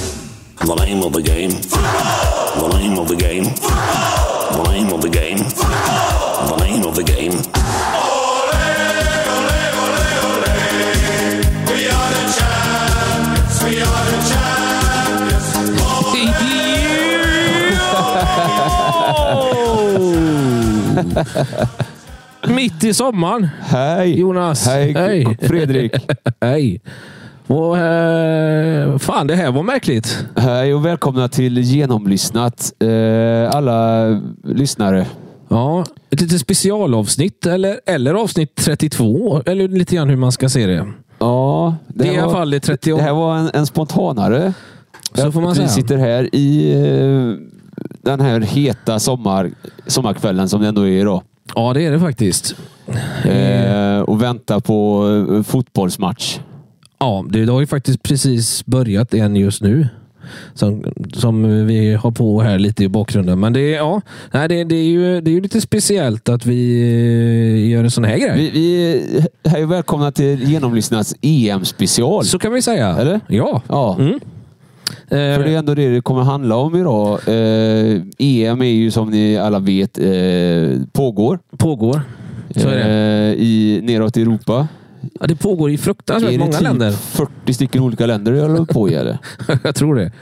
The name of the game. The name of the game. The name of the game. The name of the game. Mitt i sommaren. Hej! Jonas. Hej, Hej. Fredrik! Hej. Och, eh, fan, det här var märkligt. Hej och välkomna till Genomlyssnat. Eh, alla lyssnare. Ja, ett litet specialavsnitt eller, eller avsnitt 32. Eller lite grann hur man ska se det. Ja, Det, här är i alla var- fall det 30 Det här var en, en spontanare. Så får man vi säga. sitter här i eh, den här heta sommar, sommarkvällen som det ändå är idag. Ja, det är det faktiskt. Eh, och väntar på eh, fotbollsmatch. Ja, det det har ju faktiskt precis börjat en just nu. Som, som vi har på här lite i bakgrunden. Men det är, ja, nej, det, det är, ju, det är ju lite speciellt att vi eh, gör en sån här grej. Vi, vi hej och välkomna till Genomlyssnats EM-special. Så kan vi säga. Eller? Ja. Ja, Mm. Eh, för det är ändå det det kommer handla om idag. Eh, EM är ju som ni alla vet eh, pågår Pågår. Så är det. Eh, i, neråt i Europa. Ja, det pågår i är fruktansvärt det många typ länder. 40 stycken olika länder jag håller på i? Eller? Jag tror det.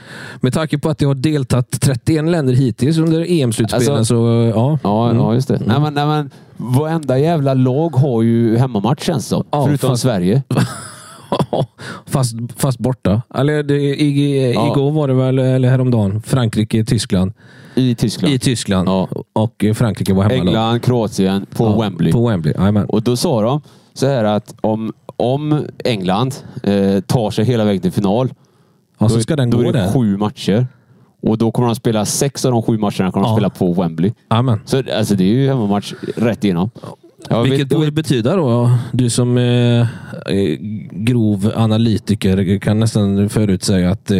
Med tanke på att det har deltagit 31 länder hittills under EM-slutspelen Alltså- så, ja. Ja, Mm. ja, just det. Nej, men, nej, men, varenda jävla lag har ju hemmamatch känns det som. Ja, Förutom fast- Sverige. fast, fast borta. Eller det, i, Ja. igår var det väl, eller häromdagen, Frankrike-Tyskland. I Tyskland. I Tyskland. Ja. Och eh, Frankrike var hemmalag. England, Kroatien, på Ja, Wembley. På Wembley, jajamän. Och då sa de så här att om, om England eh, tar sig hela vägen till final. Ja, då så är- ska den då gå är det där. sju matcher. Och då kommer de spela sex av de sju matcherna kommer Ja. de spela på Wembley. Jajamän. Så alltså, det är ju hemmamatch rätt igenom. Jag Vilket vet- borde betyda då, du som eh, eh, grov analytiker kan nästan förutsäga att eh,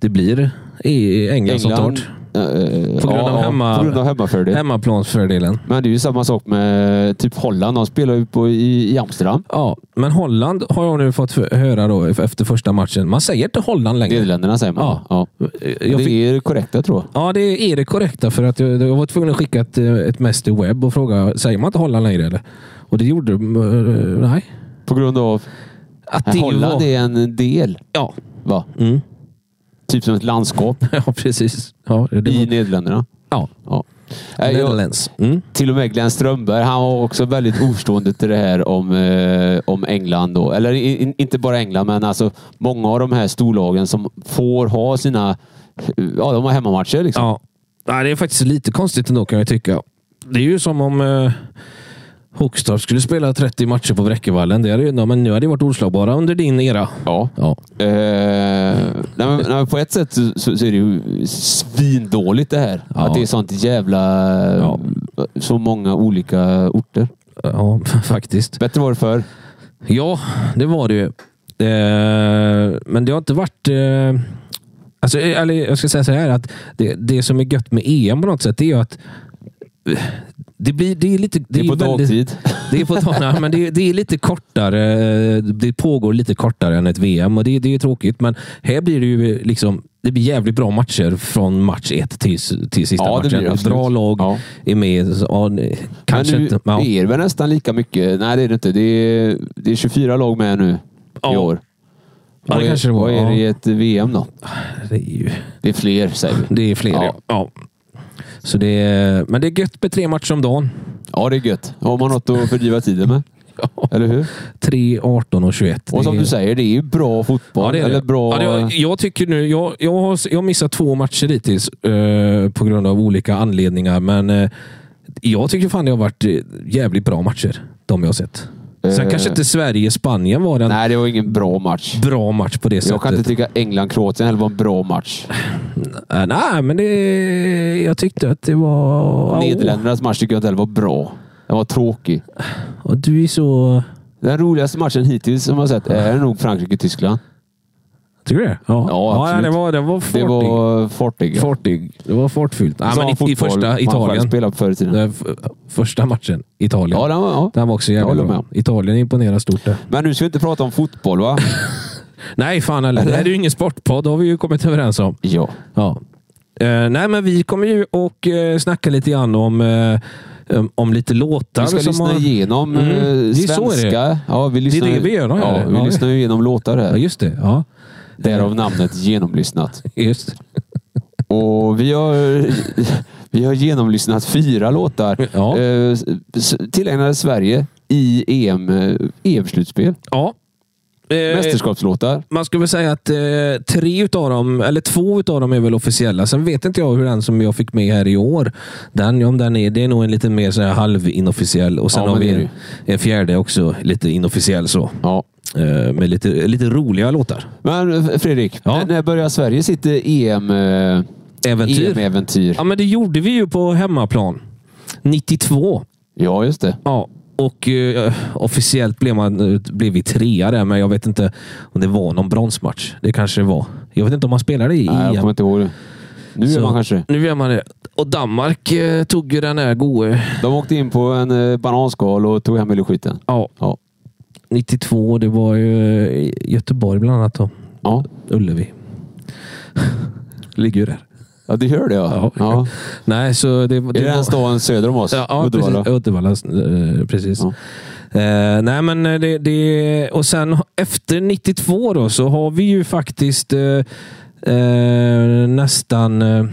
det blir i England, som tar det. eh, På grund ja, av ja, hemma- på grund av hemmafördel. hemmaplansfördelen. Men det är ju samma sak med typ Holland. De spelar ju på, i, i Amsterdam. Ja, men Holland har jag nu fått för- höra då efter första matchen. Man säger inte Holland längre. Nederländerna säger man. Ja. Ja. Jag Det fick, är det korrekta tror jag. ja, det är det korrekta för att jag, jag var tvungen att skicka ett, eh, ett mess till webb och fråga säger man inte Holland längre eller? Och det gjorde de. eh, Nej. På grund av Att att det Holland var, är en del. Ja. Va? Mm. Typ som ett landskap ja, precis. Ja, det i var, Nederländerna. ja. Ja. Nej, Jag, Netherlands. Mm. till och med Glenn Strömberg, han var också väldigt oförstående till det här om, eh, om England. Då. Eller i- in, inte bara England, men alltså många av de här storlagen som får ha sina ja, de har hemmamatcher. Liksom. Ja. Nej, det är faktiskt lite konstigt ändå kan jag tycka. Det är ju som om eh, Hoogstad skulle spela 30 matcher på Bräckevallen. Det hade ju, ja, men nu hade det varit oslagbara under din era. Ja. Ja. Eh, nej, men, nej, men på ett sätt så, så, så är det ju svindåligt det här. Ja. Att det är sånt jävla... Ja. Så många olika orter. Ja, faktiskt. Bättre var det förr. Ja, det var det ju. Eh, men det har inte varit... Eh, alltså, eh, eller jag ska säga så här att det, det som är gött med EM på något sätt det är ju att eh, det, blir, det är lite... Det är, ju på väldigt- dagtid. Det är, på dag, nej, men det, är- det är lite kortare. eh, Det pågår lite kortare än ett VM och det, det är tråkigt. Men här blir det ju liksom... Det blir jävligt bra matcher från match ett till, till sista Ja, det blir matchen. det absolut. Bra lag Ja. är med. så- Ja, nej, kanske men nu inte... men ja. är det väl nästan lika mycket. Nej, det är det inte. Det är, det är 24 lag med nu i Ja. år. Ja, det Vad är- kanske det var, Vad är ja. det i ett VM då? Det är ju... Det är fler, säger vi. Det är fler, ja. Ja. ja. Så det är, men det är gött med tre matcher om dagen. Ja, det är gött. Har man något att fördriva tiden med. Eller hur? 3, 18 och 21. Och som Det är- du säger, det är ju bra fotboll. Ja, det är Eller det. Ja, bra... det jag, jag tycker nu... Jag, jag, har, jag har missat två matcher hittills eh, på grund av olika anledningar, men eh, jag tycker fan det har varit eh, jävligt bra matcher. De jag har sett. Sen Eh. kanske inte Sverige-Spanien var en Nej, det var ingen bra match. bra match på det Jag sättet. kan inte tycka England-Kroatien heller var en bra match. Eh, Nej, men det, jag tyckte att det var... Nederländernas match tycker jag inte heller var bra. Den var tråkig. Och du är så... Den roligaste matchen hittills som jag har sett är nog Frankrike-Tyskland. Tycker du det? Ja, Ja, ja det absolut. var, det var Det fartig. var fartig. ja. Fartyg. Det var fartfyllt. Nej, Sån men i, fotboll I första Man själv Italien. spelade på förr i tiden. Den f- första matchen. Italien. Ja, den var, ja. Den var också Jag jävligt håller bra. med. Italien imponerar stort där. Men nu ska vi inte prata om fotboll va? Nej, fan eller? Det här är ju ingen sportpodd. Det har vi ju kommit överens om. Ja. Ja. Eh, nej, men vi kommer ju och eh, snacka lite grann om, eh, om- om lite låtar. Vi ska lyssna har- igenom Mm, eh, det är så svenska. det är. Ja, vi lyssnar, det vi gör då, Ja, eller? vi Ja, lyssnar ju igenom låtar Ja, här. just det. Ja. Därav namnet Genomlyssnat. Just. Och vi har, vi har genomlyssnat fyra låtar. Ja. Eh, s- tillägnade Sverige i EM, eh, EM-slutspel. ja. Eh, Mästerskapslåtar. Man skulle väl säga att eh, tre utav dem, eller två utav dem är väl officiella. Sen vet inte jag hur den som jag fick med här i år, den, om den är, det är nog en lite mer så här halvinofficiell. Och sen Ja, har men vi det är en, en fjärde också, lite inofficiell så. Ja. Eh, med lite, lite roliga låtar. Men eh, Fredrik, Ja. när- när börjar Sverige sitt eh, EM, eh, Äventyr. EM-äventyr? Ja, men det gjorde vi ju på hemmaplan. 92. Ja, just det. Ja, och eh, officiellt blev, man, eh, blev vi trea där, men jag vet inte om det var någon bronsmatch. Det kanske det var. Jag vet inte om man spelade i Nej, jag EM. kommer inte ihåg det. Nu Så- gör man kanske det. Nu gör man det. Och Danmark eh, tog ju den här gode... De åkte in på en eh, bananskal och tog hem hela skiten. Ja, Ja. 92. Det var ju eh, Göteborg bland annat. Då. Ja. Ullevi. Ligger ju där. ja, du hör det ja. ja. Nej, så det, Är det den var- staden söder om oss? Ja, ja Uddevalla? precis. Uddevalla. eh, precis. Ja. Eh, nej, men eh, det, det... Och sen efter 92 då så har vi ju faktiskt eh, eh, nästan eh,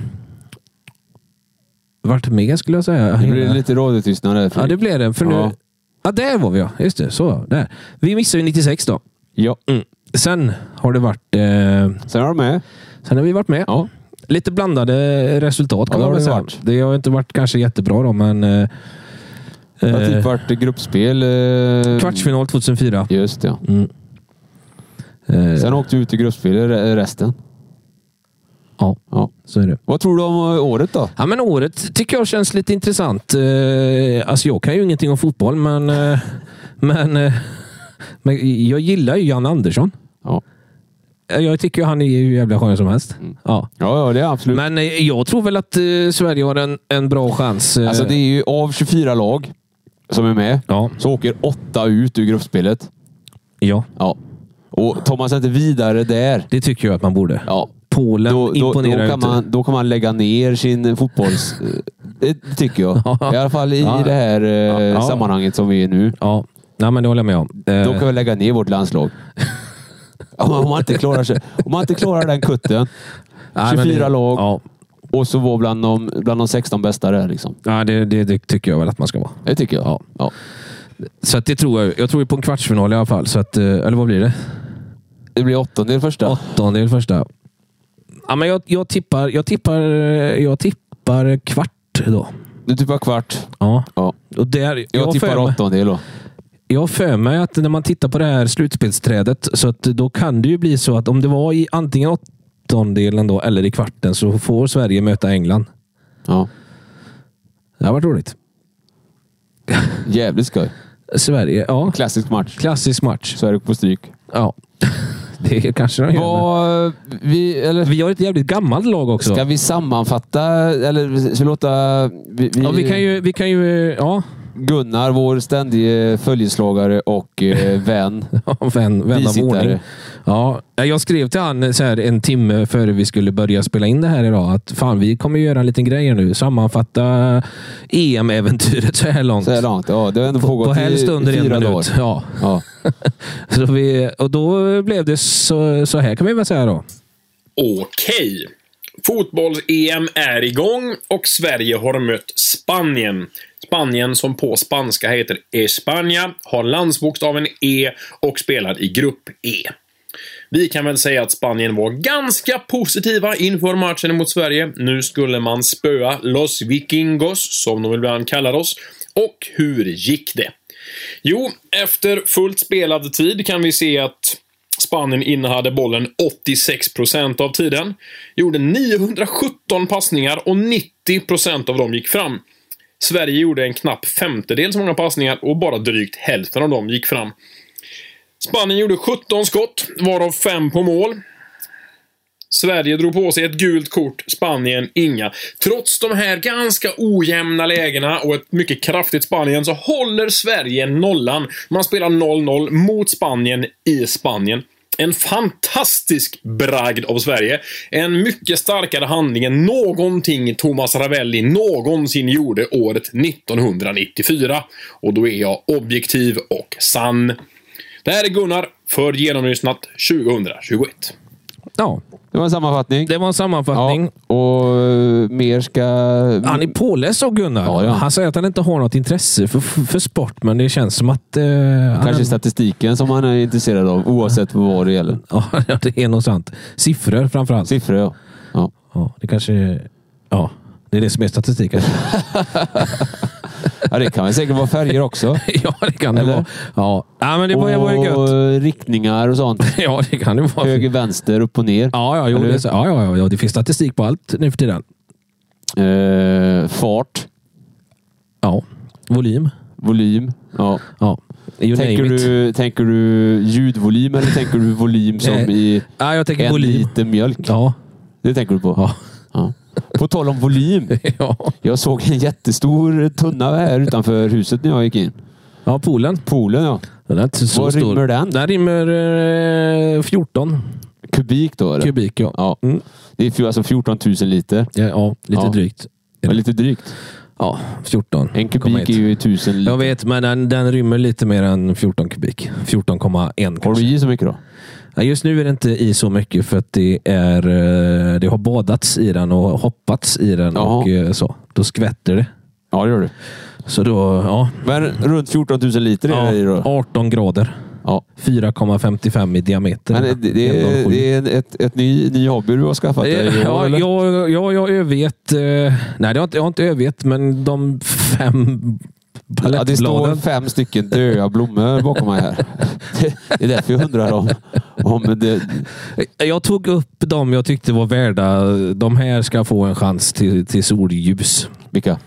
varit med skulle jag säga. Det blir lite radiotystnad där. Ja, Fredrik. det blev det. För nu... Ja. ja. där var vi ja. Just det. Så, där. Vi missade ju 96 då. ja. Mm. Sen har det varit... Eh, Sen är de med. sen har vi varit med. Ja. Lite blandade resultat Ja, kan det man har väl det säga. varit. Mm. Det har inte varit kanske jättebra då, men... Eh, Det har eh, typ varit gruppspel. eh, Kvartsfinal 2004. Just det, ja. Mm. Eh, Sen åkte vi ut i gruppspel i re- resten. ja, Ja. så är det. Vad tror du om eh, året då? Ja, men året tycker jag känns lite intressant. Eh, alltså, jag kan ju ingenting om fotboll, men, eh, men, eh, men jag gillar ju Jan Andersson. Ja, Eh, Jag tycker ju han är hur jävla skön som helst. Mm. Ja. ja, ja det är absolut. Men eh, jag tror väl att eh, Sverige har en, en bra chans. eh, Alltså det är ju av 24 lag som är med ja, så åker åtta ut ur gruppspelet. ja, Ja. Och tar man sig inte vidare där, det tycker jag att man borde. ja, Polen då, då, då, imponerar ju kan inte. man, då kan man lägga ner sin fotbolls... eh, det tycker jag. I alla fall i Ja. det här eh, ja. sammanhanget som vi är nu. Ja, Nej, men det håller jag med om. Eh, Då kan vi lägga ner vårt landslag. om, man- om, man inte klarar sig, om man inte klarar den kutten nej, men 24 lag. Ja, och så vara bland de, bland de 16 bästa där. Liksom. ja det, det, det tycker jag väl att man ska vara. Det tycker jag. Ja. Ja. Så att det tror jag. ju. Jag tror ju på en kvartsfinal i alla fall. Så att, eh, eller vad blir det? Det blir åttondel första. Åttondel första. Ja, men jag, jag, tippar, jag, tippar, eh, jag tippar kvart då. Du tippar typ kvart. Ja. Ja. Och där, jag, Jag, har tippar för mig- åttondel då. Jag har för mig att när man tittar på det här slutspelsträdet så att då kan det ju bli så att om det var i antingen åttondelen då eller i kvarten så får Sverige möta England. Ja. Det har varit roligt. Jävligt skoj. Sverige, ja. Klassisk match. Klassisk match. Sverige på stryk. Ja. Det är kanske de gör. men- Vad, vi, eller, Vi har ett jävligt gammalt lag också. ska vi sammanfatta? Eller ska vi låta... Vi, vi, Ja, vi kan ju... Vi kan ju ja, Gunnar, vår ständige följeslagare och eh, vän. vän, vän av Bisittare. ordning. Ja, jag skrev till han så här, en timme före vi skulle börja spela in det här idag att fan, vi kommer göra en liten grej här nu. Sammanfatta EM-äventyret så här långt. Så här långt. Ja, det har ändå på pågått i, helst under i en fyra minut. dagar. Ja. Ja. Så vi, och då blev det så, så här kan vi väl säga då. Okej. Fotbolls-EM är igång och Sverige har mött Spanien. Spanien som på spanska heter España, har landsbokstaven E och spelar i grupp E. Vi kan väl säga att Spanien var ganska positiva inför matchen mot Sverige. Nu skulle man spöa Los Vikingos, som de ibland kallar oss. Och hur gick det? Jo, efter fullt spelad tid kan vi se att Spanien innehade bollen 86% av tiden. Gjorde 917 passningar och 90% av dem gick fram. Sverige gjorde en knapp femtedel så många passningar och bara drygt hälften av dem gick fram. Spanien gjorde 17 skott, varav 5 på mål. Sverige drog på sig ett gult kort, Spanien inga. Trots de här ganska ojämna lägena och ett mycket kraftigt Spanien så håller Sverige nollan. Man spelar 0-0 mot Spanien i Spanien. En fantastisk bragd av Sverige. En mycket starkare handling än någonting Thomas Ravelli någonsin gjorde året 1994. Och då är jag objektiv och sann. Det här är Gunnar för genomlyssnat 2021. Ja, Det var en sammanfattning. det var en sammanfattning. Ja, och eh, mer ska... Han är påläst av Gunnar. Ja, ja. Han säger att han inte har något intresse för, för sport, men det känns som att... Eh, han, Kanske statistiken som han är intresserad av, oavsett vad det gäller. ja, det är något sant. Siffror framförallt. Siffror, ja. ja. Ja, det kanske... Ja, det är det som är statistik. kanske. Ja, det kan väl säkert vara färger också. ja, det kan det Eller? vara. Ja, ja men det var, det var ju gött. Och riktningar och sånt. Ja, det kan det vara. Höger, vänster, upp och ner. Ja, ja, jo, Eller det, hur? är så. ja, ja, ja, ja, det finns statistik på allt nu för tiden. Eh, fart, Ja, volym. volym. Ja. Ja. You Tänker, name it. du, tänker du ljudvolym eller tänker du volym som Nej. i Ja, Eh, jag tänker en volym. liter mjölk? Ja. Det tänker du på? Ja. Ja. På tal om volym. ja. Jag såg en jättestor tunna här utanför huset när jag gick in. Ja, poolen. Poolen ja. Den är inte så Vad stor. rymmer den? Den rymmer eh, 14 Kubik då eller? kubik. Ja, Ja. Mm. Det är fj- alltså 14 000 liter. ja, ja lite Ja. drygt. Det var lite drygt. Ja, 14. En Komma hit. kubik är ju 1000 Jag liter. vet, men den, den rymmer lite mer än 14 kubik. 14,1 Har kanske. du i så mycket då? Ja, Just nu är det inte i så mycket för att det, är, eh, det har badats i den och hoppats i den. Jaha. och eh, så. Då skvätter det. Ja, det gör du. Så då, ja. Men runt 14 000 liter är det i ja då? 18 grader. Ja. 4,55 i diameter. Men det, det, det, 1,07. är en ett, ett ny, ny hobby du har skaffat dig? i år, Ja, eller? jag, jag, jag övergett... eh, Nej, det har inte, jag har inte övergett, men de fem Ja, det står palettbladen. fem stycken döda blommor bakom mig här. Det är därför jag undrar om, om det... jag tog upp de jag tyckte var värda. De här ska få en chans till, till solljus. Vilka?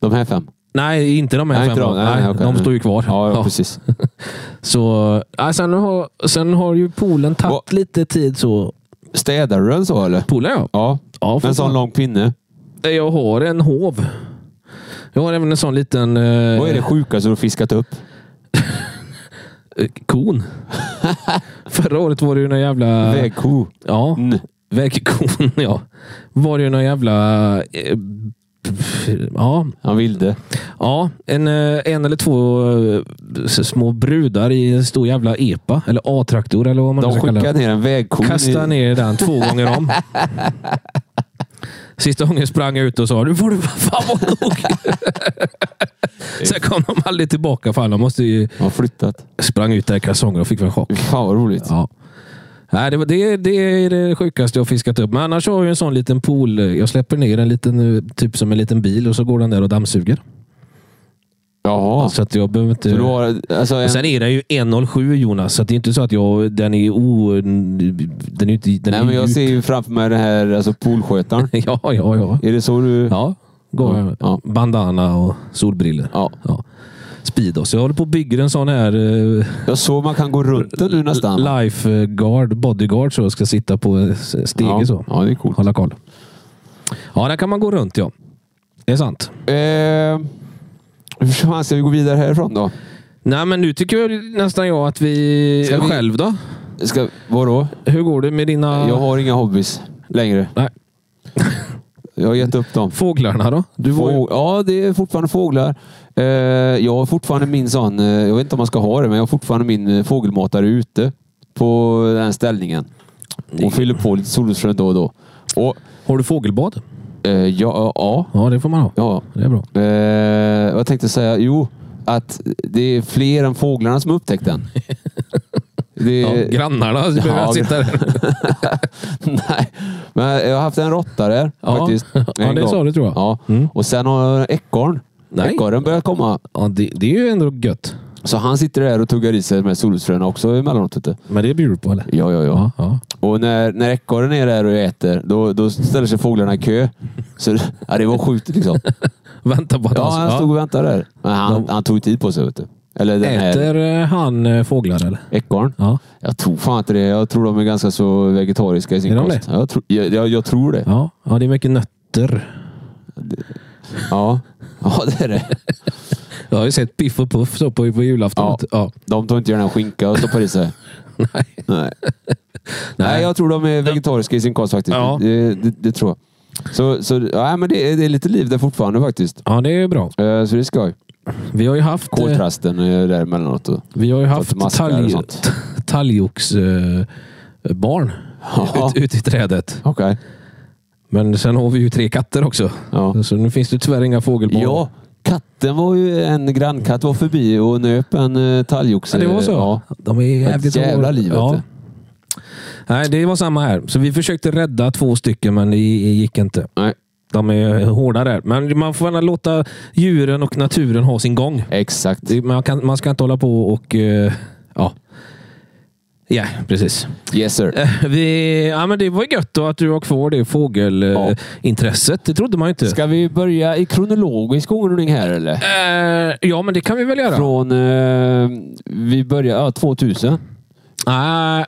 De här fem? Nej, inte de här Nej, fem. inte de. då. Nej, Nej, nej, okej. de står ju kvar. Ja, ja Ja. precis. Så, ja, sen, har, sen har ju poolen tagit Och- lite tid. så... Städar du den så eller? Poolen ja. Ja. ja för En sån fan. lång pinne. Jag har en hov. Jag har även en sån liten eh, Vad är det sjukaste du har fiskat upp? eh, kon. Förra året var det ju någon jävla... Vägko. Ja. Mm. Vägkon, ja. Var det ju någon jävla... eh, pff, Ja, Han vilde. ja en, eh, en eller två eh, s- små brudar i en stor jävla epa, eller A-traktor eller vad man nu De ska kalla skickade det. ner en vägko. Kasta ner den två gånger om. Sista gången sprang jag ut och sa nu får du fan vara nog. Sen kom de aldrig tillbaka. Fan, de måste ju... De har flyttat. Sprang ut där i kalsonger och fick en chock. Fan vad roligt. Ja. Nej, det, var- det, det är det sjukaste jag har fiskat upp. Men annars har jag ju en sån liten pool. Jag släpper ner en liten, eh, typ som en liten bil och så går den där och dammsuger. Jaha. Så att jag behöver inte... Så du har, alltså en, Alltså, Och Sen är den ju 1,07 Jonas, så att det är inte så att jag, den är o... Den är ju inte... Den är nej, men jag djup. ser ju framför mig den här alltså poolskötaren. Ja, ja, ja. är det så du... Ja, går jag med. Ja. Bandana och solbriller. Ja. Ja. Speedos. Jag håller på och bygger en sån här eh, Jag såg man kan gå runt den nu nästan. lifeguard, bodyguard, så jag ska sitta på eh, stege ja. så. ja, det är coolt. Hålla koll. Ja, där kan man gå runt ja. Det är sant. Eh, hur fan ska vi gå vidare härifrån då? Nej, men nu tycker jag nästan jag att vi... Ska vi- Själv då? Ska, vadå? Hur går det med dina... Jag har inga hobbies längre. Nej. Jag har gett upp dem. Fåglarna då? Du var ju... Fåg... Ja, det är fortfarande fåglar. Eh, jag har fortfarande min sån, eh, jag vet inte om man ska ha det, men jag har fortfarande min eh, fågelmatare ute på den ställningen. Och fyller på lite solrosfrön då och då. Och, Har du fågelbad? eh, ja, ja, Ja, det får man ha. ja. Det är bra. Eh, vad tänkte jag säga? Jo, att det är fler än fåglarna som har upptäckt den. Det Eh, Ja, grannarna så behöver jag sitta där. Nej, men jag har haft en råtta där Ja. faktiskt. Ja, En det gång. sa du, tror jag. Mm. Ja. Och sen har ekorren. Nej. Ekorren börjar komma. Ja, det, det är ju ändå gött. Så han sitter där och tuggar i sig med solrosfröna också emellanåt. Vet du. Men det bjuder du på eller? Ja, ja, ja. Ja, ja. Och när, när ekorren är där och äter, då, då ställer sig fåglarna i kö. Så, ja, det var sjukt liksom. Vänta på att Ja, han- han stod och väntade där. Men han, han tog tid på sig. Vet du. Eller den här Äter eh, han eh, fåglar eller? ekorren. Ja. Jag tror fan inte det. Jag tror de är ganska så vegetariska i sin Är de kost. Jag, tror- jag, jag, jag tror det. Ja. ja, det är mycket nötter. Ja. ja, det är det. Jag har ju sett Piff och Puff så på, på julafton. Ja. Ja. De tar inte gärna skinka och stoppar i sig. Nej. Nej. Nej, jag tror de är vegetariska i sin kost faktiskt. Ja. Det, det, det tror jag. Så, så ja, men det, är- det är lite liv där fortfarande faktiskt. Ja, det är bra. Eh, Så det är skoj. Vi har ju haft... eh, Koltrasten är där emellanåt. och- Vi har ju Ta till haft maskar och talg, sånt. t- talgoxbarn Ja. ut, ute i trädet. Okej. Men sen har vi ju tre katter också. Ja. Så nu finns det tyvärr inga fågelbarn. ja, katten var ju... En grannkatt var förbi och nöp en eh, talgoxe. Ja, det var så. Ja. De är jävligt jävla liv, vet du. Nej, det var samma här. Så vi försökte rädda två stycken, men det gick inte. Nej, De är hårda där. Men man får gärna låta djuren och naturen ha sin gång. exakt. Det- Man, kan, man ska inte hålla på och... eh, Ja, ja precis. Yes sir. Eh, Vi, ja, men det var ju gött då att du har kvar det Ja. fågelintresset. Det trodde man ju inte. Ska vi börja i kronologisk ordning här eller? Eh, ja, men det kan vi väl göra. Från... Eh, vi börjar... Ja, 2000. Nej.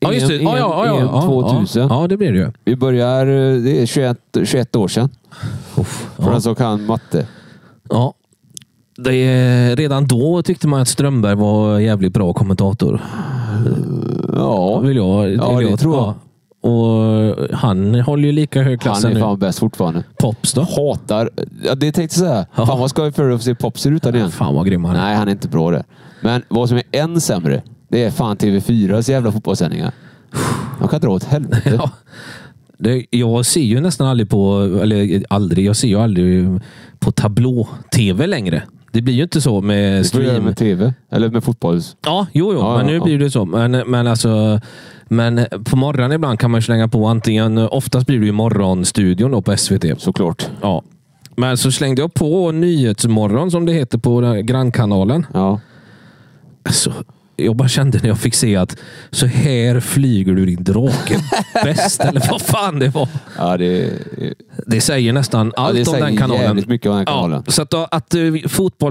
ja, just det. EM, Ja, ja, ja, ja, EM 2000. Ja, ja, det blir det ju. Vi börjar... eh, Det är 21, 21 år sedan. För Ja. den som kan matte. Ja. Det är, redan då tyckte man att Strömberg var jävligt bra kommentator. Ja, Vill jag, Ja, vill det tror jag. Ja. Och han håller ju lika hög klass han än är nu. fan bäst fortfarande. Pops då? Hatar... Ja, det tänkte jag säga. Ja. Fan vad skoj för dig att se popser utan igen. Fan vad grym han är. Nej, han är inte bra där. Men vad som är än sämre, det är fan TV4s jävla fotbollssändningar. De kan dra åt helvete. Ja. Det, jag ser ju nästan aldrig på, eller aldrig, jag ser ju aldrig på tablå-tv längre. Det blir ju inte så med det får du göra stream. med TV. Eller med fotbolls... Ja, jo, jo, Ja, men ja, nu ja. blir det så. Men, men alltså... Men på morgonen ibland kan man ju slänga på antingen... Oftast blir det ju morgonstudion då på SVT. Såklart. Ja. Men så slängde jag på Nyhetsmorgon, som det heter på den här grannkanalen. Ja. Alltså, jag bara kände när jag fick se att så här flyger du din drake bäst, eller vad fan det var. Ja, det är... Det säger nästan allt det om säger den kanalen. jävligt mycket om den kanalen. Ja, så att, då, att eh,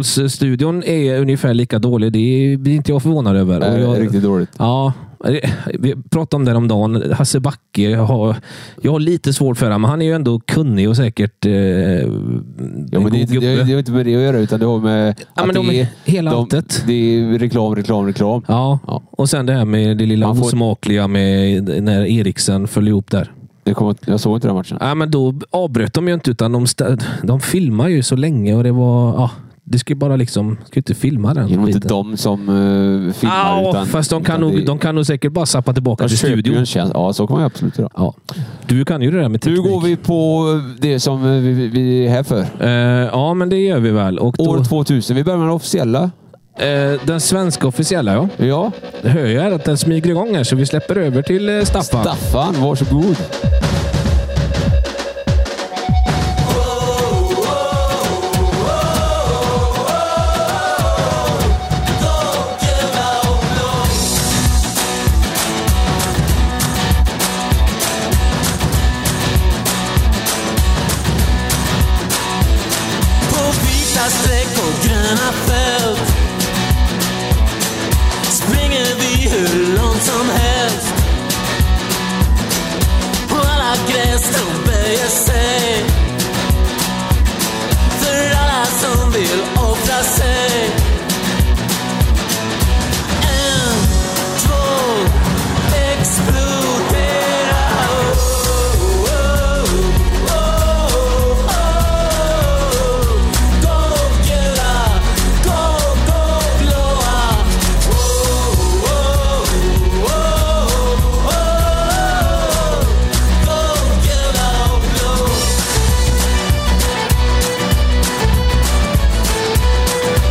fotbollsstudion är ungefär lika dålig, det blir inte jag förvånad över. Det Och är jag, riktigt dåligt. Ja, det- vi pratade om det om dagen. Hasse Backe har... Jag har lite svårt för honom, men han är ju ändå kunnig och säkert eh, Ja, en men det, är god inte- gubbe. det, har- det har inte med det att göra, utan det har med Ja, men att de det är hela de- alltet. Det är reklam, reklam, reklam. Ja. Ja. och sen det här med det lilla Man får- osmakliga med när Eriksen föll ihop där. Jag, kommer, jag såg inte den matchen. Ja, men då avbröt de ju inte, utan de, stä- de filmar ju så länge och det var... Ja, det ska ju bara liksom... ska ju inte filma den Det är nog inte biten. de som eh, filmar. Ja, utan, fast de kan, utan nog, det- de kan nog säkert bara zappa tillbaka de till köper ju studion. en tjänst. Ja, så kan man ju absolut göra. Ja. Du kan ju det där med Nu teknik. går vi på det som eh, vi, vi- vi är här för. Eh, ja, men det gör vi väl. Och då, År 2000. Vi börjar med den officiella. eh, den svenska officiella, ja. Ja. Det hör jag här att den smyger igång här, så vi släpper över till eh, Staffan. Staffan, varsågod. På vita streck och gröna fält springer vi hur långt som helst. Och alla gräs de böjer sig för alla som vill offra sig. En, två, explodera. Oh, oh, oh, oh, oh. Oh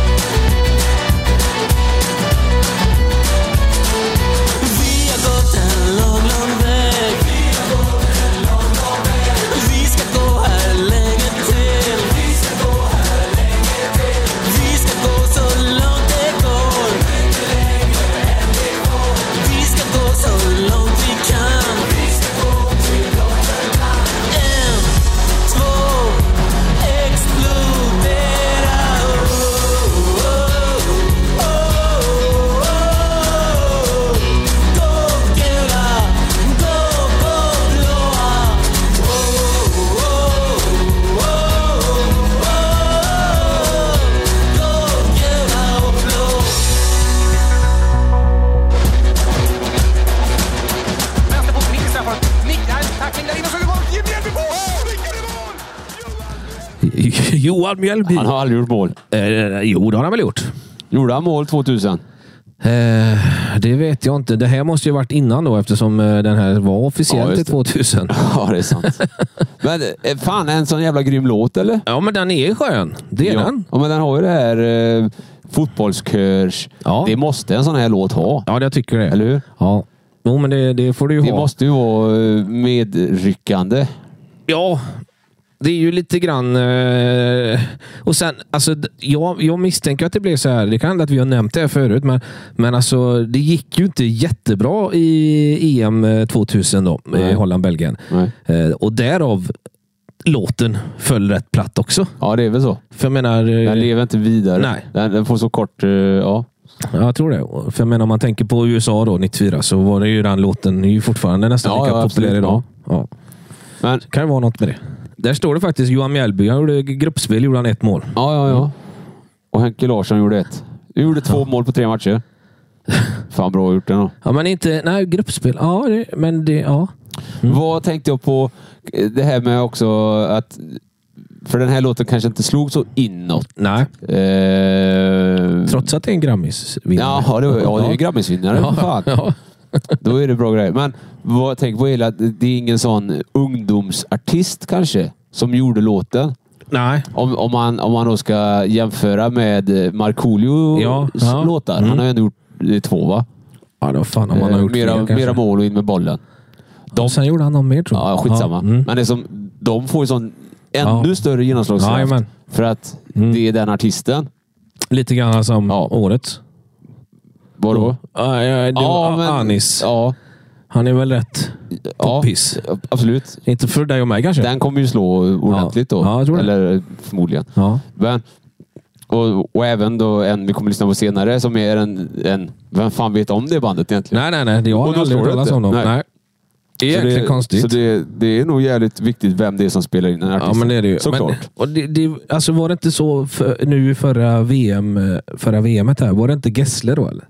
Johan Mjällby. Han har aldrig gjort mål. Eh, jo, det har han väl gjort. Gjorde han mål 2000? Eh, det vet jag inte. Det här måste ju varit innan då eftersom eh, den här var Ja, officiellt just i det. 2000. Ja, det är sant. Men eh, fan, en sån jävla grym låt, eller? Ja, men den är skön. Det är den. Ja, men den har ju det här eh, fotbollskörs... Ja. Det måste en sån här låt ha. Ja, jag tycker det. Eller hur? Ja. Jo, men det, det får du ju Det ha. måste ju vara eh, medryckande. Ja, det är ju lite grann... Eh, och sen, alltså, d- jag, jag misstänker att det blev så här. Det kan hända att vi har nämnt det här förut, men, men alltså, det gick ju inte jättebra i EM eh, 2000 då, Nej. eh, Holland-Belgien. Nej. Eh, och därav låten föll rätt platt också. Ja, det är väl så. För jag menar... eh, Den lever inte vidare. Nej. Den, den får så kort... eh, ja. Ja, jag tror det. För jag menar, om man tänker på USA då, 94, så var det ju den låten är ju fortfarande nästan Ja, lika populär ja, absolut. idag. Ja. Men, Det kan ju vara något med det. Där står det faktiskt Johan Mjällby. Han gjorde gruppspel, gjorde han ett mål. ja, ja, ja. Och Henke Larsson gjorde ett. Du gjorde två mål på tre matcher. Fan, bra gjort ändå. Ja, men inte... Nej, gruppspel. Ja, det, men det... Ja. Mm. Vad tänkte jag på? eh, Det här med också att... För den här låten kanske inte slog så inåt. Nej, Eh, trots att det är en Grammis-vinnare. Ja, det, var- ja, det är ju Grammisvinnare. Ja, Fan. ja. Då är det bra grejer. Men vad, tänk på hela, att det är ingen sån ungdomsartist kanske som gjorde låten. Nej. Om, om, man, om man då ska jämföra med eh, Markoolios Ja, ja. låtar. Han har ju ändå gjort eh, två, va? Ja, då fan om han har Eh, gjort mera, fler, kanske. mera mål och in med bollen. De... Sen gjorde han någon mer, tror jag. Ja, skitsamma. mm. Men det är som, de får ju sån ännu Ja. större Ja, genomslagskraft. jajamän. Mm. för att det är den artisten. Lite grann som Ja. årets. Vadå? Ja, ja, det var Anis. Ja, Han är väl rätt ja, poppis. absolut. Inte för dig och mig kanske? Den kommer ju slå ordentligt Ja. då. Ja, jag tror det. Eller eh, förmodligen. Ja. Men, och, och även då en vi kommer lyssna på senare som är en, en... Vem fan vet om det bandet egentligen? Nej, nej, nej. Jag Och har då aldrig slår hört det talas inte. om dem. Nej. Nej. Det är jäkligt det, konstigt. Så det, det är nog jävligt viktigt vem det är som spelar in en artist. ja, men det är det ju. Såklart. Men, och det, det, alltså var det inte så för, nu i förra VM, eh, förra VMet här? Var det inte Gessle då eller?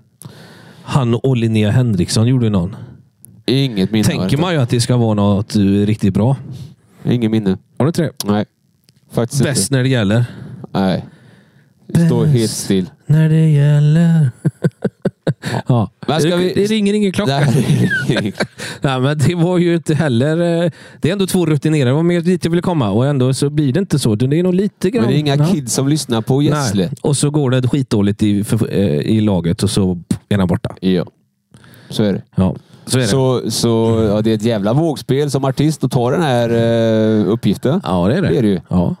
Han och Linnea Henriksson gjorde ju någon. Inget minne. har jag Tänker inte. man ju att det ska vara något eh, riktigt bra. Inget minne. Har du inte det? Nej. Faktiskt Bäst när det gäller. inte. Nej. Det Står Bäst. helt still. När det gäller. ja. Men ska det, vi- det ringer ingen klocka. Nej. Nej, men det var ju inte heller... eh, Det är ändå två rutinerade. Det var mer dit jag ville komma och ändå så blir det inte så. Det är nog lite grann... Men det är inga Ja. kids som lyssnar på Nej. Gessle. Och så går det skitdåligt i, för, eh, i laget och så pff, är han borta. Ja. Så är det. Ja, så är det. Så, så ja, det är ett jävla vågspel som artist att ta den här eh, uppgiften. ja, det är det. det är det ju. Ja.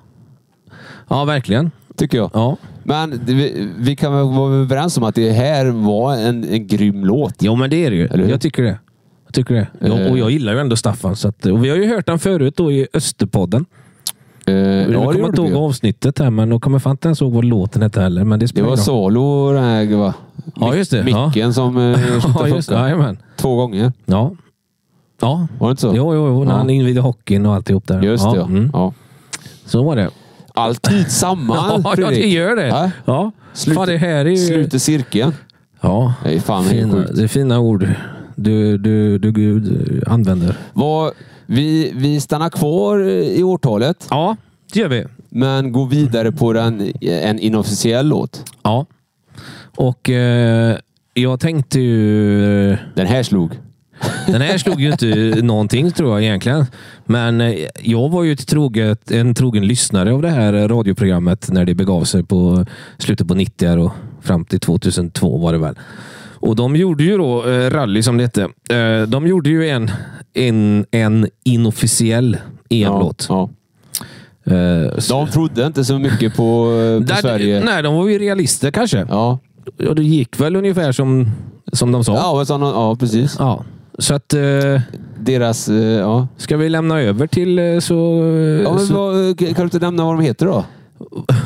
ja, verkligen. Tycker jag. Ja. Men det, vi, vi kan väl vara överens om att det här var en, en grym låt. Jo, men det är det ju. Eller hur? Eh. Jag tycker det. Jag tycker det. Jag, och jag gillar ju ändå Staffan. Så att, och vi har ju hört han förut då i Österpodden. Eh, ja, jag kommer inte gjorde vi ihåg ju. avsnittet här, men jag kommer fan inte ens ihåg vad låten hette heller. Men det Det spelar var ingen roll. Salo den här va? Ja, just det. Ja. Micken som eh, Ja, slutade just det. funka. Jajamän. Två gånger. Ja. Ja. Var det inte så? Jo, jo, jo. När Ja. han invigde hockeyn och alltihop där. Just det, ja. mm. ja. Så var det. Alltid samma, Ja, ja, det Fredrik. gör det. Ja. Ja. Slut- Fan, det här är ju... Sluter cirkeln. Ja. Det är fan helt fina, sjukt. det är fina ord du, du, du, du, du använder. Vad- vi, vi stannar kvar i årtalet, Ja, det gör vi. men går vidare på den, eh, en inofficiell låt. Ja. Och eh, jag tänkte ju... eh, Den här slog. Den här slog ju inte någonting tror jag egentligen. Men eh, jag var ju ett troget, en trogen lyssnare av det här radioprogrammet när det begav sig på slutet på 90 och fram till 2002 var det väl. Och de gjorde ju då, eh, Rally som det hette, eh, de gjorde ju en, en, en inofficiell EM-låt. Ja, Eh, ja. De trodde inte så mycket på, eh, på Där- Sverige. Nej, de var ju realister kanske. Ja. Ja, det gick väl ungefär som, som de sa. Ja, och sådana, ja, precis. Ja. Så att, eh, Deras... eh, Ja. ska vi lämna över till eh, så... eh, Ja, men så vad, kan du inte nämna vad de heter då?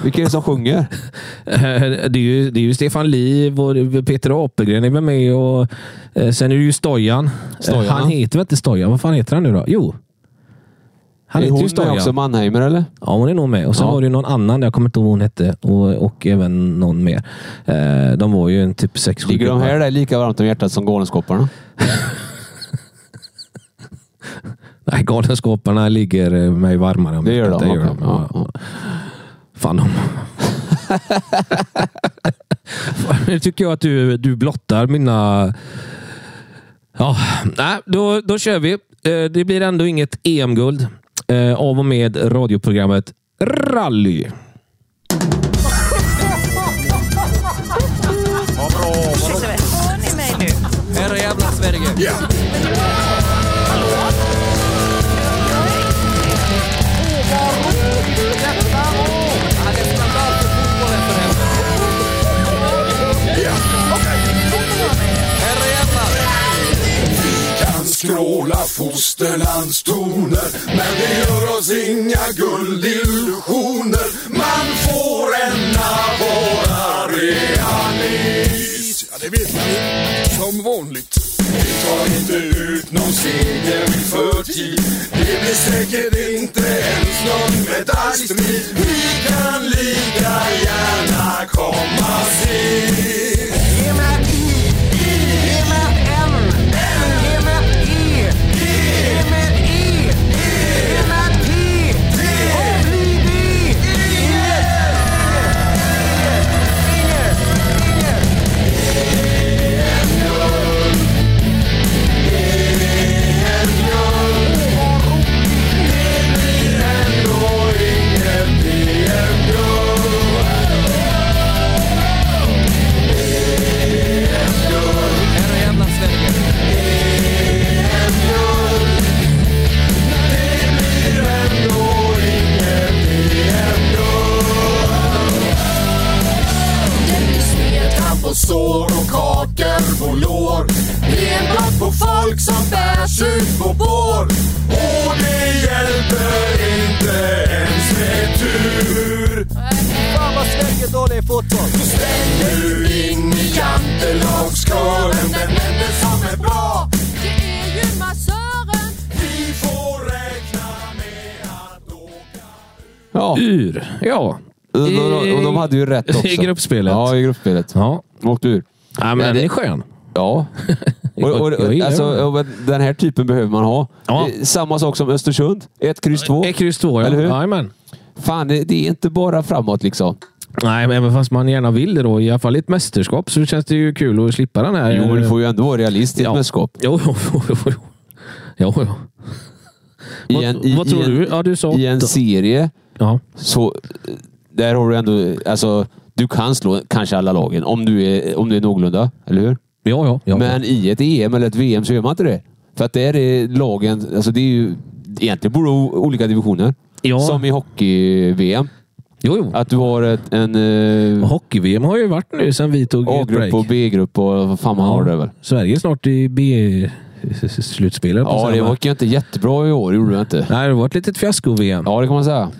Vilka är det som sjunger? eh, det, är ju, det är ju Stefan Liv och Peter Apelgren är väl med och eh, sen är det ju Stojan. Stojan, Eh, Han ja. heter väl inte Stojan? Vad fan heter han nu då? Jo. Han är heter ju hon med Stojan. också Mannheimer eller? Ja, hon är nog med. Och sen Ja. var det ju någon annan, jag kommer inte ihåg vad hon hette, och, och även någon mer. Eh, de var ju en typ sex sju Ligger de gubbar. här där lika varmt om hjärtat som Galenskaparna? Nej, Galenskaparna ligger eh, mig varmare om Det gör hjärtat. de, Det gör okej. de. Ja, Ja, ja. fan om. nu tycker jag att du, du blottar mina... Ja, nej, då, då kör vi. Eh, Det blir ändå inget EM-guld eh, av och med radioprogrammet Rally. Ursäkta mig, hör ni mig nu? Herre jävla Sverige! kan skråla fosterlandstoner Men det gör oss inga guldillusioner Man får en av våra realis Ja, det vet man Som vanligt Vi tar inte ut någon seger i förtid Det blir säkert inte ens någon medaljstrid Vi kan lika gärna komma sist Ge mig I, ge mig N, ge mig E, ge mig E, ge mig T och bli vi. på sår och kakor på lår. Vi är bland på folk som bärs ut på bår. Och det hjälper inte ens med tur. Fan vad Sverige dålig i fotboll. Så släng nu in i jantelagskören den enda som är bra. Vi får räkna med att åka Ja. Ur. Ja. Och de, och de hade ju rätt också. I gruppspelet. Ja, i gruppspelet. Ja. De åkte ur. Ja, men den är skön. Ja. Och, och, Jag gillar alltså, den. och den här typen behöver man ha. Ja. Eh, Samma sak som Östersund. Ett kryss två. Ett kryss två, ja. Eller hur? Jajamän. Fan, det, det är inte bara framåt liksom. Eh, Nej, men även fast man gärna vill det då, i alla fall i ett mästerskap, så känns det ju kul att slippa den här... Jo, men du får ju ändå vara realist i ett Ja. mästerskap. Jo, jo, jo. jo, jo. jo, jo. I Vad- en, i, vad i tror en, du? Ja, du sa I en åtta. serie Ja. så eh, där har du ändå... Alltså, du kan slå kanske alla lagen om du är, om du är någorlunda, eller hur? Ja, ja. ja. Men i ett EM eller ett VM så gör man inte det. För att där är lagen... Alltså det är ju, egentligen borde det vara olika divisioner. Ja. Som i hockey-VM. jo, jo. Att du har ett, en... Eh, Hockey-VM har ju varit nu sedan vi tog ett break. A-grupp och B-grupp och vad fan man har det väl. Sverige är snart i B-slutspelet. Ja, det gick ju inte jättebra i år. gjorde det inte. Nej, det var ett litet fiasko-VM. Ja, det kan man säga.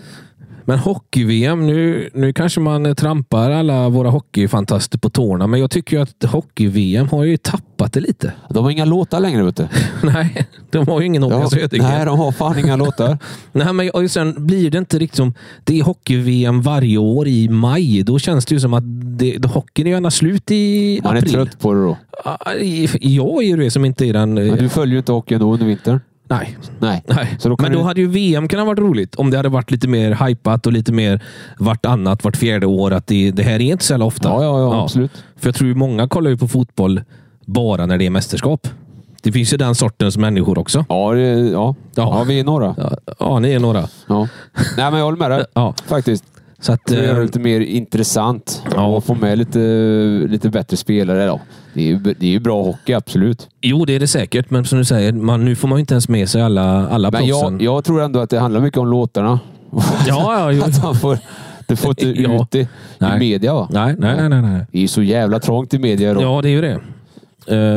Men hockey-VM, nu, nu kanske man trampar alla våra hockeyfantaster på tårna, men jag tycker ju att hockey-VM har ju tappat det lite. De har inga låtar längre, vet du. Nej, de har ju ingen Håkan Södergren. nej, de har fan inga låtar. Nej, men och sen blir det inte riktigt som... Det är hockey-VM varje år i maj. Då känns det ju som att det, då hockeyn är gärna slut i Man är april. trött på det då. Ah, i- Jag är ju det som inte är den... eh, Men du följer ju inte hockeyn då under vintern. Nej. Nej. Nej. Så då kan men då du... hade ju VM kunnat varit roligt om det hade varit lite mer hypat och lite mer vartannat, vart fjärde år. Att det, det här är inte så jävla ofta. Ja, ja, ja, absolut. För jag tror ju många kollar ju på fotboll bara när det är mästerskap. Det finns ju den sortens människor också. Ja, det, ja. Ja. ja, vi är några. Ja, ja ni är några. Ja. Nej, men jag håller med dig. Ja. Faktiskt. Så att, Det gör det eh, lite mer intressant Ja. och få med lite, lite bättre spelare. Då. Det, är ju, det är ju bra hockey, absolut. Jo, det är det säkert, men som du säger, man, nu får man ju inte ens med sig alla, alla Men proffsen. jag, jag tror ändå att det handlar mycket om låtarna. Ja, ja, jo. Att han får, du får inte ut Ja. det i Nej. media va? Nej, nej, nej, nej, nej. Det är ju så jävla trångt i media då. Ja, det är ju det.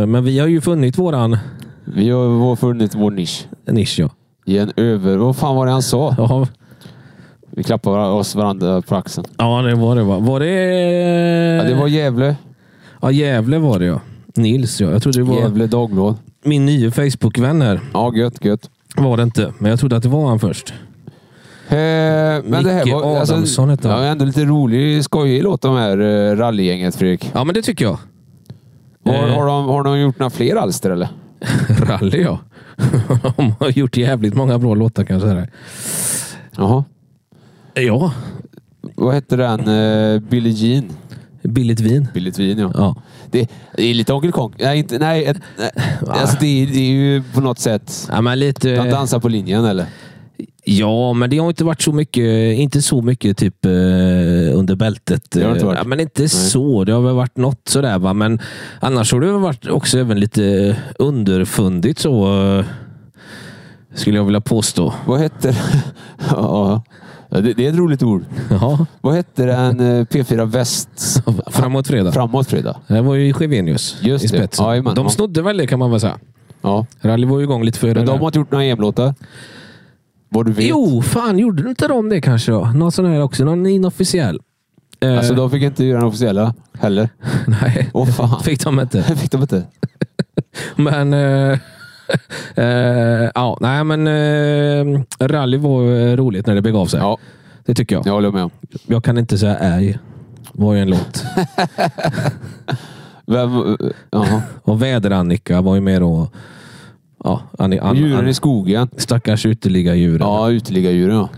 Eh, Men vi har ju funnit våran Vi har vår- funnit vår nisch. nisch. Ja. I en över... Vad fan var det han sa? Ja, Vi klappar var- oss varandra på axeln. ja, det var det. Va? Var det... Ja, Eh. det var Gävle. ja, Gävle var det ja. Nils ja. Jag trodde det var Gävle Dagblad. min nya Facebook-vän här. Ja, gött, gött. Var det inte, men jag trodde att det var han först. Eh, men det Micke här var... alltså- Adamsson hette han. ja, ändå lite rolig, skojig låt de här eh, rallygänget, Fredrik. Ja, men det tycker jag. Har, Eh. har, de, har de gjort några fler alster eller? Rally ja. De har gjort jävligt många bra låtar kan jag säga. dig. Jaha. Ja, vad hette den? Eh, Billie Jean. Billigt vin. Billigt vin, ja. Ja. Det, det är lite Onkel Konk. Nej, inte, nej, ett, nej. Alltså, det, är- det är ju på något sätt... ja men lite... De dansar på linjen, eller? Ja, men det har inte varit så mycket, inte så mycket typ eh, under bältet. Det har det inte varit. Ja, men inte så. Det har väl varit något sådär. Va? Men annars har det väl varit också även lite underfundigt så. eh, Skulle jag vilja påstå. Vad hette... ja, ja. det, det är ett roligt ord. Ja, Vad hette den eh, P4 Väst framåt fredag. framåt fredag? det var ju Chevenius Just i det. spetsen. Jajamän, de ja. snodde väl det kan man väl säga. Ja. Rally var ju igång lite före. Men de där. har inte gjort några EM-låtar? Vad du vet. Jo, fan gjorde inte de det kanske då? Någon sån här också. Någon inofficiell. Eh, Alltså, de fick inte göra den officiella heller. Nej, Åh fan. fick de inte. fick de inte. Men... eh, eh, ja, nej, men eh, rally var eh, roligt när det begav sig. Ja, Det tycker jag. jag håller med om. Jag kan inte säga ej. var ju en låt. Vem, eh, ja. Och Väder-Annika var ju med då. Ja, Anni, an, Djuren an, i skogen. stackars uteliggardjuren. Ja, uteliggardjuren ja.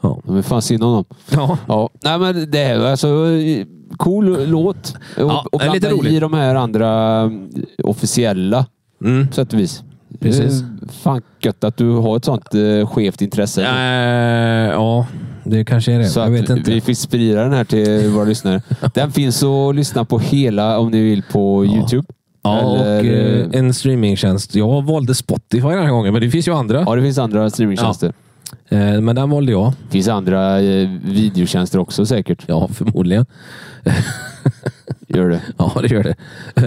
Ja. De är fan synd om dem. ja. Ja, nej men det är alltså eh, cool låt. Och, Ja, och det är lite blanda i roligt. de här andra mm, officiella Mm. på sätt och vis. Precis. Det är Fan gött att du har ett sånt eh, skevt intresse. Eh, ja, det kanske är det. Så jag vet att inte. vi fick sprida den här till våra lyssnare. Den finns att lyssna på hela om ni vill på Youtube. ja, och Eller, eh, en streamingtjänst. Jag valde Spotify den här gången, men det finns ju andra. Ja, det finns andra streamingtjänster. Eh, men den valde jag. Det finns andra eh, videotjänster också säkert. Ja, förmodligen. Gör det. Ja, det gör det.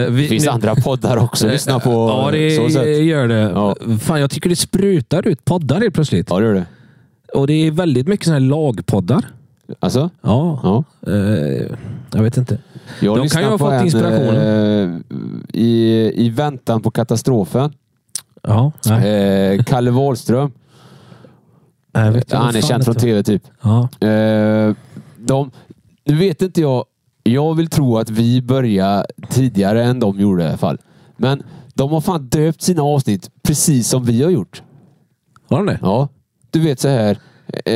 Eh, vi- Det finns nu- andra poddar också. Lyssna på. Ja, det så sätt. gör det. Ja. Fan, jag tycker det sprutar ut poddar helt plötsligt. Ja, det gör det. Och det är väldigt mycket sådana här lagpoddar. Alltså? Ja. Ja. Eh, jag vet inte. Jag De lyssnar kan ju ha på fått en, inspiration. eh, i, I väntan på katastrofen. Ja, nej. Eh, Kalle Wahlström. Nej, jag vet inte Han är fan känd från inte. tv typ. Ja. Eh, de, nu vet inte jag. Jag vill tro att vi började tidigare än de gjorde i alla fall. Men de har fan döpt sina avsnitt precis som vi har gjort. Har de det? Ja, du vet så här. Eh,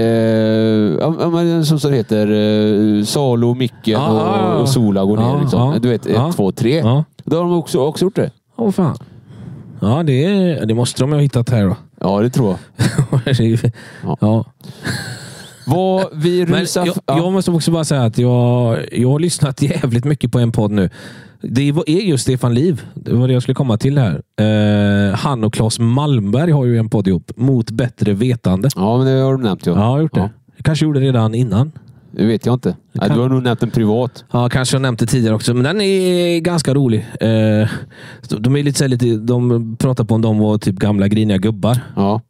ja, ja, men en som så heter eh, Salo, Micken Ja, ja, ja. och, och Sola går Ja, ner. Liksom. ja, du vet, ett, ja. två, tre. Ja. Då har de också, också gjort det. Åh fan. Ja, det, är, det måste de ju ha hittat här då. Ja, det tror jag. ja. Ja. Vad vi Men rusar... jag, ja. jag måste också bara säga att jag, jag har lyssnat jävligt mycket på en podd nu. Det var- är just Stefan Liv. Det var det jag skulle komma till här. Eh, han och Claes Malmberg har ju en podd ihop. Mot bättre vetande. ja, men det har de nämnt. Ja. Ja, jag har gjort det. Jag kanske gjorde det redan innan. Det vet jag inte. Nej, kan- Du har nog nämnt en privat. Ja, kanske jag nämnt det tidigare också, men den är ganska rolig. Eh, de, är lite, så här lite, de pratar på om de var typ gamla griniga gubbar. Ja.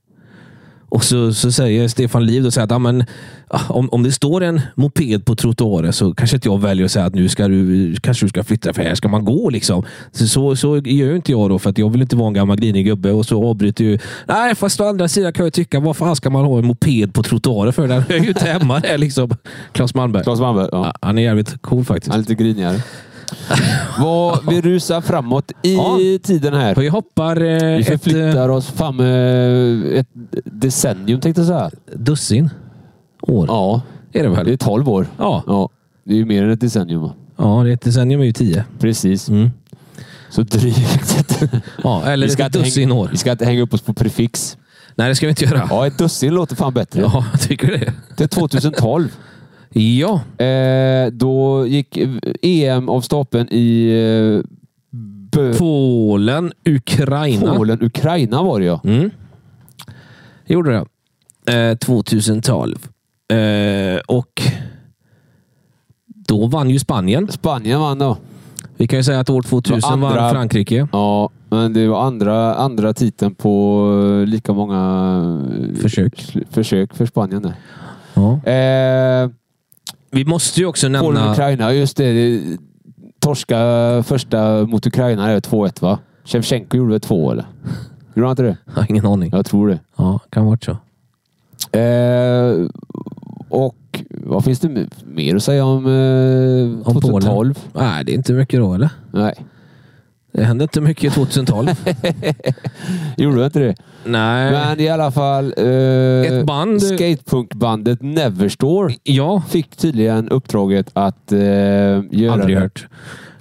Och så, så säger Stefan Liv då så här att ja, men, ah, om, om det står en moped på trottoaren så kanske inte jag väljer att säga att nu ska du, kanske du ska flytta för här ska man gå. liksom. Så, så, så gör ju inte jag då för att jag vill inte vara en gammal grinig gubbe och så avbryter ju. Nej, fast å andra sidan kan jag tycka vad fan ska man ha en moped på trottoaren för? Den är ju inte hemma där liksom. Claes Malmberg. Claes Malmberg. Ja. Ja, han är jävligt cool faktiskt. Han är lite grinigare. Vad vi rusar framåt i Ja. tiden här. Vi hoppar eh, Vi ett eh, förflyttar oss fram eh, ett decennium tänkte jag säga. dussin år. Ja, Är det det är väl? 12 år. Ja. ja. Det är ju mer än ett decennium. va? Ja, det är ett decennium är ju tio. Precis. Mm. Så drygt. Ja, eller ett inte dussin hänga, år. vi ska inte hänga upp oss på prefix. Nej, det ska vi inte göra. Ja, ett dussin låter fan bättre. Ja, jag tycker det. Det är 2012. Ja, Eh, då gick EM av stapeln i eh, Bö- Polen, Ukraina. Eh. Polen. Ukraina var det ja. Mm. Gjorde det. Eh, 2012. Eh, och då vann ju Spanien. Spanien vann då. Vi kan ju säga att år 2000 Andra- vann Frankrike. Ja, men det var andra, andra titeln på eh, lika många eh, Försök. sl- försök för Spanien. där. Ja. Eh, Vi måste ju också Polen nämna... Ukraina, just det. det- Torska första mot Ukraina är 2-1 va? Shevchenko gjorde väl två eller? Gjorde han inte det? Ja, ingen aning. Jag tror det. Ja, kan ha varit så. Eh, och vad finns det m- mer att säga om, eh, Om Polen. 2012? Nej, det är inte mycket då, eller? Nej. Det hände inte mycket 2012. Gjorde du inte det? Nej. Eh. Men i alla fall... Eh, Ett band- Skatepunkbandet Neverstore ja. fick tydligen uppdraget att eh, göra Aldrig det hört.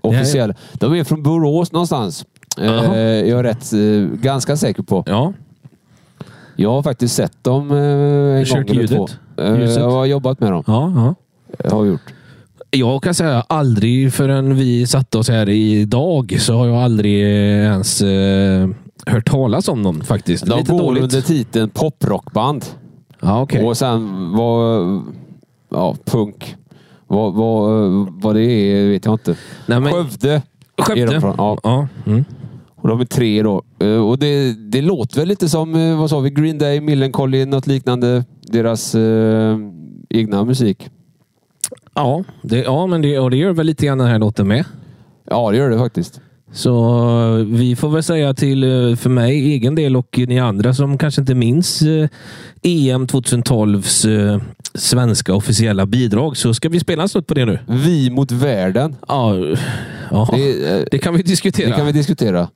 officiella. De är från Borås någonstans. Eh, Jaha. jag är rätt, eh, ganska säker på. Ja. Jag har faktiskt sett dem eh, en Kört gång eller ljudet? två. Eh, Ljuset? jag har jobbat med dem. ja, ja. Jag har gjort. Jag kan säga aldrig förrän vi satte oss här idag så har jag aldrig eh, ens eh, hört talas om dem faktiskt. De Lite går dåligt. under titeln poprockband. Ja, okej. Och sen vad... Ja, punk. Vad, vad, vad det är vet jag inte. Nej, men- Skövde. Är de Skövde. från, ja. Ja. Mm. Och de är tre då. Eh, Och det, det låter väl lite som, eh, vad sa vi, Green Day, Millencolin, något liknande. Deras eh, egna musik. Ja, det, ja men det, och det gör väl lite grann den här låten med. Ja, det gör det faktiskt. Så eh, vi får väl säga till eh, för mig, egen del och ni andra som kanske inte minns eh, EM 2012s eh, svenska officiella bidrag så ska vi spela en snutt på det nu. Vi mot världen. Ja, ja. Det, Det, eh, kan vi diskutera. det kan vi diskutera.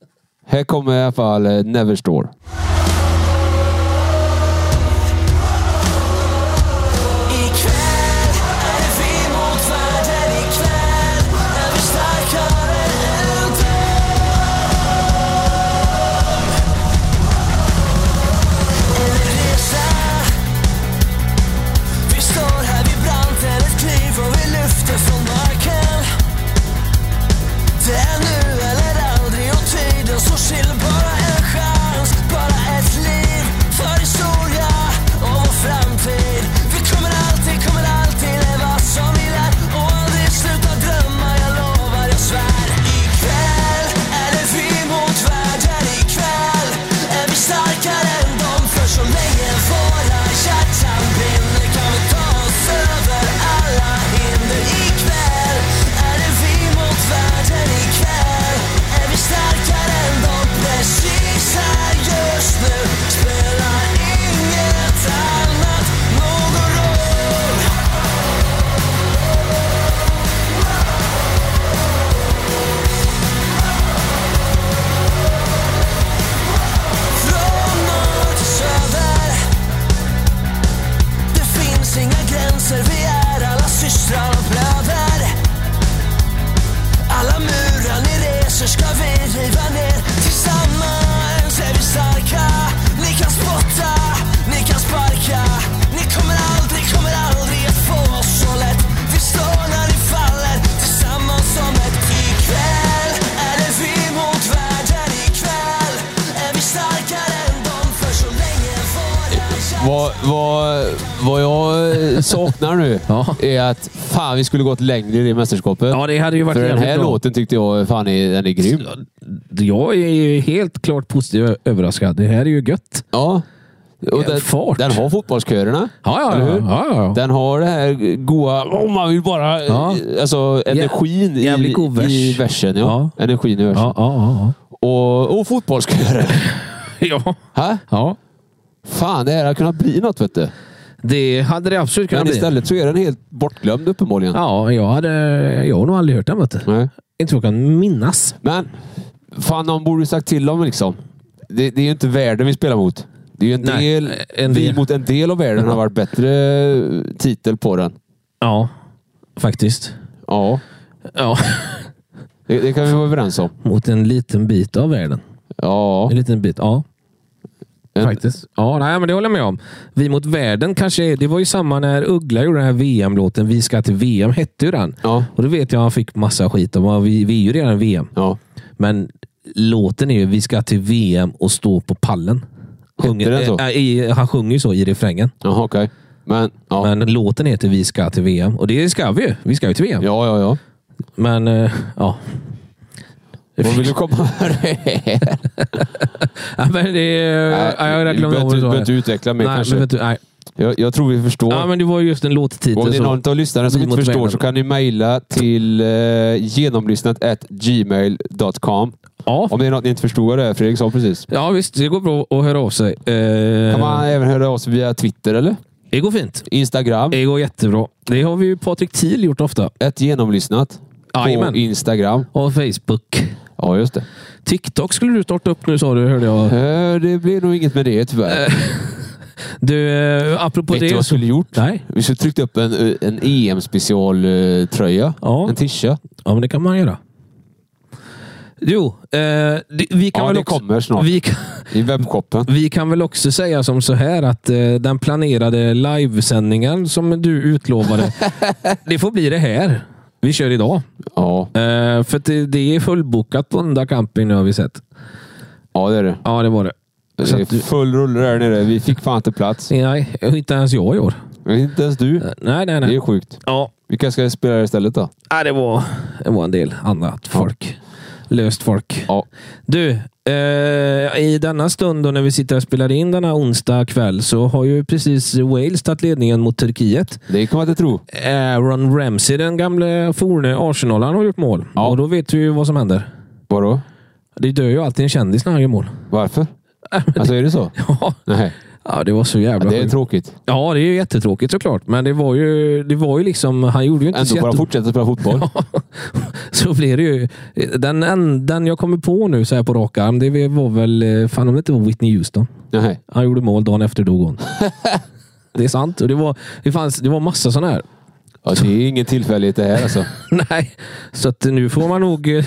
Här kommer i alla fall eh, Neverstore. Ikväll är det vi mot världen Ikväll är vi starkare än dem En resa Vi står här vid branten Ett kliv och vi lyfter från marken Det är nu eller aldrig och tiden står still Bara en chans, bara ett liv För historia och vår framtid Vi kommer alltid, kommer alltid leva som vi lär Och aldrig sluta drömma, jag lovar, jag svär Ikväll är det vi mot världen Ikväll är vi starkare än dem För så länge våra hjärtan brinner kan vi ta oss över alla hinder Ikväll är det vi mot världen ikväll Är vi starkare än dem precis här just nu Spelar inget annat någon roll Från norr till söder Det finns inga gränser, vi är alla systrar och bröder alla murar ni reser ska vi riva ner Tillsammans är vi starka Ni kan spotta, ni kan sparka Ni kommer aldrig, kommer aldrig att få oss så lätt Vi står när ni faller Tillsammans som ett Ikväll är det vi mot världen Ikväll är vi starkare än dem För så länge våra Vad, vad, vad jag eh, saknar nu Ja. är att fan, vi skulle gått längre i det mästerskapet. Ja, det hade ju varit För den jävligt här bra. låten tyckte jag fan är, den är grym. Jag är ju helt klart positiv ö- överraskad. Det här är ju gött. Ja. Och Jävla den, fart. den har fotbollskörerna. Ja, ja, eller ja, hur? ja, ja. Den har det här goa... Oh, man vill bara... Ja. Alltså energin i, jävligt god vers. i versen. Ja. Energin i versen. Ja, ja, Och, och fotbollskörer. ja. ja. Ha? ja. Fan, det här hade kunnat bli något vet du. Det hade det absolut kunnat Men bli. istället så är den helt bortglömd uppenbarligen. Ja, jag, hade, jag har nog aldrig hört den. Vet du. Nej. Inte vad jag kan minnas. Men fan, någon borde ju sagt till dem liksom. Det, det är ju inte världen vi spelar mot. Det är ju en Nej, del, en Vi del. mot en del av världen har varit bättre eh, titel på den. Ja, faktiskt. Ja, Ja. det, det kan vi vara överens om. Mot en liten bit av världen. Ja, En liten bit, ja. en- Faktiskt. Ja, nej, men det håller jag med om. Vi mot världen kanske... är- Det var ju samma när Uggla gjorde den här VM-låten. Vi ska till VM hette ju den. Ja. Och då vet jag att han fick massa skit. om att Vi, vi är ju redan VM. ja. Men låten är ju Vi ska till VM och stå på pallen. Sjunger, den så? eh, i, han sjunger ju så i refrängen. Jaha, okej. Men, ja. Men låten heter Vi ska till VM. Och det ska vi ju. Vi ska ju till VM. ja, ja, ja. Men eh, ja. Vad vill du komma här? Ja, men det är... ja, jag har du glömt behöver vad du inte- du sa. behöver inte utveckla mer Nej, kanske. men vet du, nej. Jag, jag tror vi förstår. Ja, men det var just en låttitel. Om det är så- någon av lyssnarna som Vi inte mot förstår världen. så kan ni mejla till eh, genomlyssnat gmail.com. Ja. Om det är något ni inte förstår det här, Fredrik sa precis. Ja visst, det går bra att höra av sig. Eh, Kan man även höra oss via Twitter eller? Det går fint. Instagram. Det går jättebra. Det har vi ju Patrik Thiel gjort ofta. Ett genomlyssnat. På Jajamän. Instagram. Och Facebook. Ja, just det. TikTok skulle du starta upp nu sa du, hörde jag. Eh, Det blir nog inget med det tyvärr. Du, eh, apropå Vet Eh, det. du vad vi så- skulle gjort? Nej. Vi skulle tryckt upp en, eh, en EM-specialtröja. Ja. En tisha. Ja, men det kan man göra. Jo, eh, det, vi kan Ja, väl det också... kommer snart. Vi kan, I webbshoppen. vi kan väl också säga som så här att eh, den planerade livesändningen som du utlovade, det får bli det här vi kör idag. Ja. Eh, för att det, det är fullbokat på Onda camping nu har vi sett. ja, det är det. Ja, det var det. Det Så är att du, full rulle där nere. Vi fick fan inte plats. nej, inte ens jag i år. Inte ens du. Nej, nej, Det Eh, nej. är sjukt. Ja, Vilka ska spela istället då? nej, det var, det var en del annat folk. Löst folk. Ja. Du, eh, i denna stund då när vi sitter och spelar in denna onsdag kväll så har ju precis Wales tagit ledningen mot Turkiet. Det kan man inte tro. Aaron Ramsey, den gamle forne Arsenalaren, har gjort mål. Ja. Och då vet vi ju vad som händer. Vadå? Det dör ju alltid en kändis när han gör mål. Varför? Alltså är det så? Ja. Nej. ja, det var så Ja, jävla Det är sjukt. tråkigt. Ja, det är ju jättetråkigt såklart. Men det var ju, det var ju liksom... Han gjorde ju inte så Ändå bara jätte... fortsätta spela fotboll. så blir det ju... Den, en- den jag kommer på nu så här på rak arm, det var väl... eh, Fan om det inte var Whitney Houston. Nej. Han gjorde mål dagen efter dog hon. det är sant. Och det, var, det, fanns, det var massa sådana här. Ja, det är ingen tillfällighet det här alltså. Nej, så att nu får man nog... eh,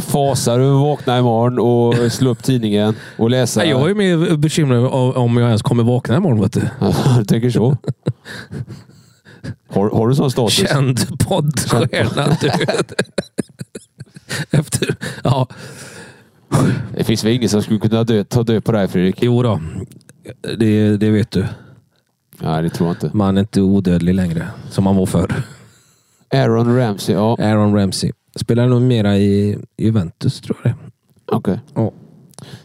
Fasar du vakna imorgon och slå upp tidningen och läsa. Nej, jag är mer bekymrad av- om jag ens kommer vakna imorgon. Vet du. du tänker så? Har, har du sån status? Känd poddstjärna. du vet. Efter, ja, Det finns väl ingen som skulle kunna dö, ta död på dig Fredrik? jo då. Det, det vet du. Nej, det tror jag inte. Man är inte odödlig längre, som man var förr. Aaron Ramsey, ja. Okej. Aaron Ramsey. Spelar nog mera i Juventus, tror jag det är. Ja.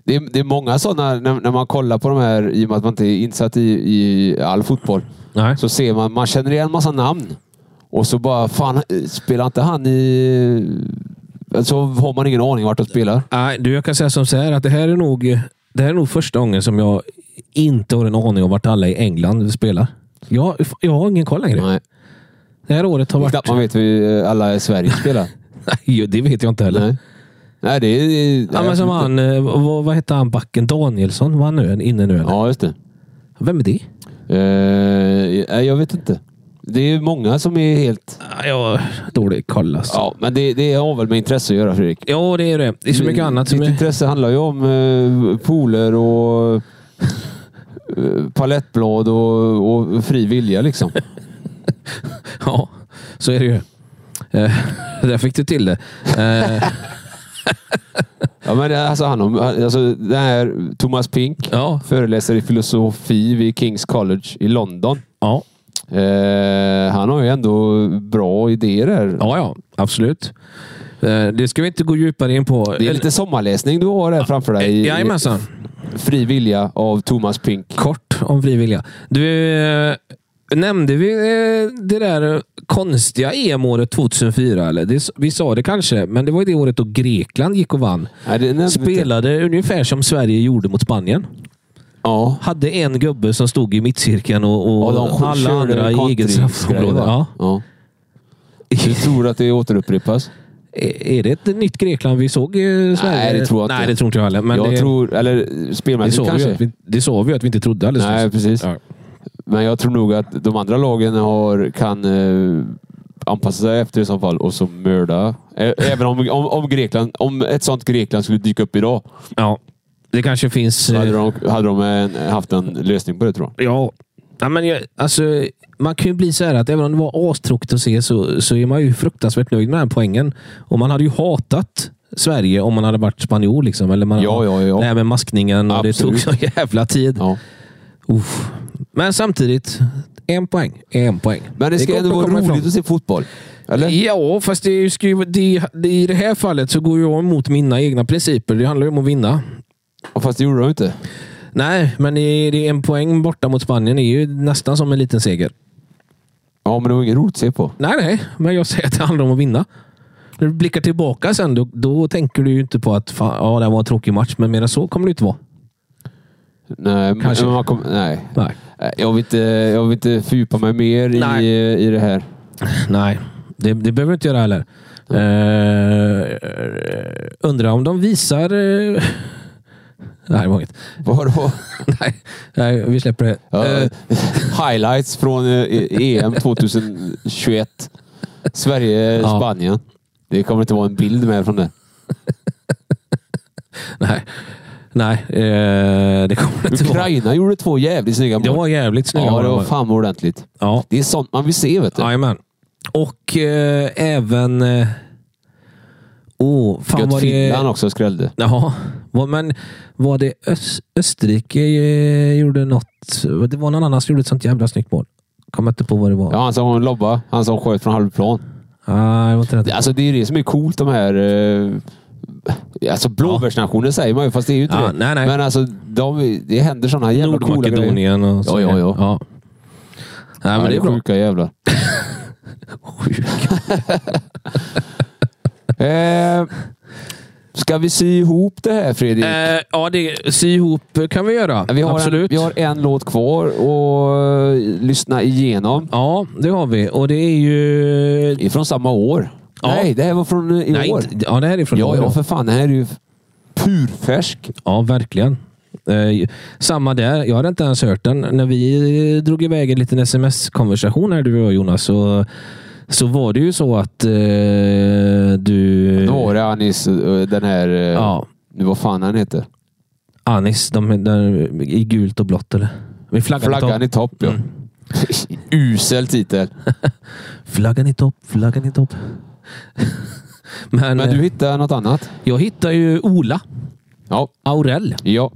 Det, är, det är många sådana, när, när man kollar på de här, i och med att man inte är insatt i, i all fotboll, Nej. så ser man, man känner igen massa namn. Och så bara, fan, eh, spelar inte han i... Så har man ingen aning vart de spelar. Nej, du, jag kan säga som så här att det här är nog, det här är nog första gången som jag inte har en aning om vart alla i England spelar. Jag, jag har ingen koll längre. Nej. Det här året har varit... Knappt man vet hur eh, alla i Sverige spelar. Nej, det vet jag inte heller. Nej. Nej, det är... Ja, men som han, eh, vad, vad hette han, backen Danielsson? Var han nu, inne nu? Eller? Ja, just det. Vem är det? Eh, nej, jag vet inte. Det är många som är helt... Ja, Jag har dålig koll alltså. Ja. Ja, men det, det har väl med intresse att göra, Fredrik. det är det. Det är så mycket annat som Ditt är... intresse handlar ju om eh, pooler och eh, palettblad och, och fri vilja liksom. Ja, så är det ju. Eh, där fick du till det. Eh, Ja, men det- alltså, han, har- han- alltså, den här Thomas Pink ja. föreläser i filosofi vid Kings College i London. Ja. Eh, han har ju ändå bra idéer där. ja, ja, absolut. Eh, det ska vi inte gå djupare in på. Det är lite sommarläsning du har där framför dig. i- Jajamensan. Fri vilja av Thomas Pink. Kort om fri vilja. Du, eh, nämnde vi eh, det där konstiga EM-året 2004? Eller? Det, vi sa det kanske, men det var ju det året då Grekland gick och vann. Nej, det nämnde vi inte. Spelade ungefär som Sverige gjorde mot Spanien. Ja. Hade en gubbe som stod i mittcirkeln och, och Och de alla körde andra i country- eget straffområde. grejer, va? Ja. Ja. Du tror att det återupprepas? Är är det ett nytt Grekland vi såg i eh, Sverige? det tror jag inte. Nej, det tror inte jag heller. Men jag det, tror, eller det, spelmässigt sa vi ju kanske. att vi, det sa vi ju att vi inte trodde alldeles Nej, nyss. precis. Ja. Men jag tror nog att de andra lagen har, kan eh, anpassa sig efter i så fall och så mörda. Ä- Även om, om, om, Grekland, om ett sånt Grekland skulle dyka upp idag ja. Det kanske finns... så eh, hade de, hade de en, haft en lösning på det tror jag. Ja. ja men jag, alltså, man kan ju bli så här att även om det var astråkigt att se så, så är man ju fruktansvärt nöjd med den här poängen. Och man hade ju hatat Sverige om man hade varit spanjor. Liksom, eller man, Ja, ja, ja. Det här med maskningen och det tog Absolut. så jävla tid. Ja. Uff. Men samtidigt, en poäng är en poäng. Men det ska går ändå att vara komma roligt ifrån. att se fotboll. Eller? Ja, fast det är ju skru- det, det, i det här fallet så går jag emot mina egna principer. Det handlar ju om att vinna. Och Fast det gjorde de inte. Nej, men det, det är en poäng borta mot Spanien är ju nästan som en liten seger. Ja, men det var inget roligt att se på. Nej, nej, men jag säger att det handlar om att vinna. När du blickar tillbaka sen, då, då tänker du ju inte på att fan, ja, det var en tråkig match, men mer än så kommer det inte vara. Nej, men Kanske. men man kom, nej. Nej. Nej, Jag vill inte, jag vill inte fördjupa mig mer i, Nej. i det här. Nej, det, det behöver du inte göra heller. Eh, undrar om de visar... eh, Det här var inget. Vadå? Nej, nej, vi släpper det. Ja, Eh, highlights från eh, EM 2021. Ja. Sverige-Spanien. Det kommer inte vara en bild med från det. nej, nej eh, det kommer det inte vara. Ukraina gjorde två jävligt snygga mål. Det var jävligt snygga ja, mål. det var fan ordentligt. Ja, Det är sånt man vill se, vet du. jajamän. Och eh, även... Eh, oh, fan Gött var det... Finland också skrällde. Ja, vad- men var det Ös- Österrike eh, gjorde något? Det var någon annan som gjorde ett sånt jävla snyggt mål. Kommer inte på vad det var. Ja, han som lobba. Han som sköt från halvplan. Ah, det var inte Det- rätt. Alltså det är ju det som är coolt de här... Eh, alltså blåbärsnationer säger man ju, fast det är ju inte Ja, det. nej, nej. Men alltså, de, det händer sådana jävla coola grejer. Nordmakedonien och så. Ja, ja, ja. Nej, Ja, men det är bra. sjuka jävlar. eh, ska vi sy ihop det här Fredrik? Eh, ja, det, sy ihop kan vi göra. vi, har en, Absolut. vi har en låt kvar och eh, lyssna igenom. Ja, det har vi. Och det är ju... Från samma år. Ja. Nej, det här var från eh, i Nej, år. inte, ja, det här är från Ja, år, ja, för fan. Det här är ju purfärsk. Ja, verkligen. Eh, samma där. Jag hade inte ens hört den. När vi drog iväg en liten sms-konversation här, du och jag, Jonas, så, så var det ju så att eh, du... Då var det Anis, eh, den här... eh, Ja. Nu vad fan han heter. Anis, de, de, i gult och blått, eller? Vi flaggan, Flaggan i i topp. Mm. topp, ja. Usel titel. Flaggan i topp, flaggan i topp. Men, Men eh, du hittade något annat? jag hittar ju Ola Ja. Aurell. ja.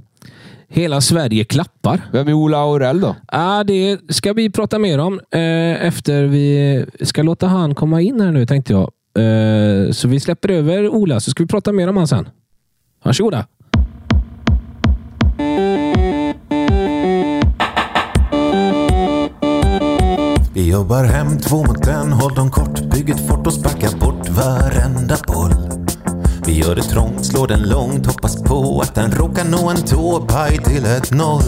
Hela Sverige klappar. Vem är Ola Aurell då? Ja, det ska vi prata mer om eh, efter vi ska låta han komma in här nu, tänkte jag. Eh, så vi släpper över Ola, så ska vi prata mer om han sen. Varsågoda. Vi jobbar hem två mot en, håll dem kort, bygg ett fort och sparka bort varenda boll. Vi gör det trångt, slår den långt, hoppas på att den råkar nå en tå, paj till ett noll.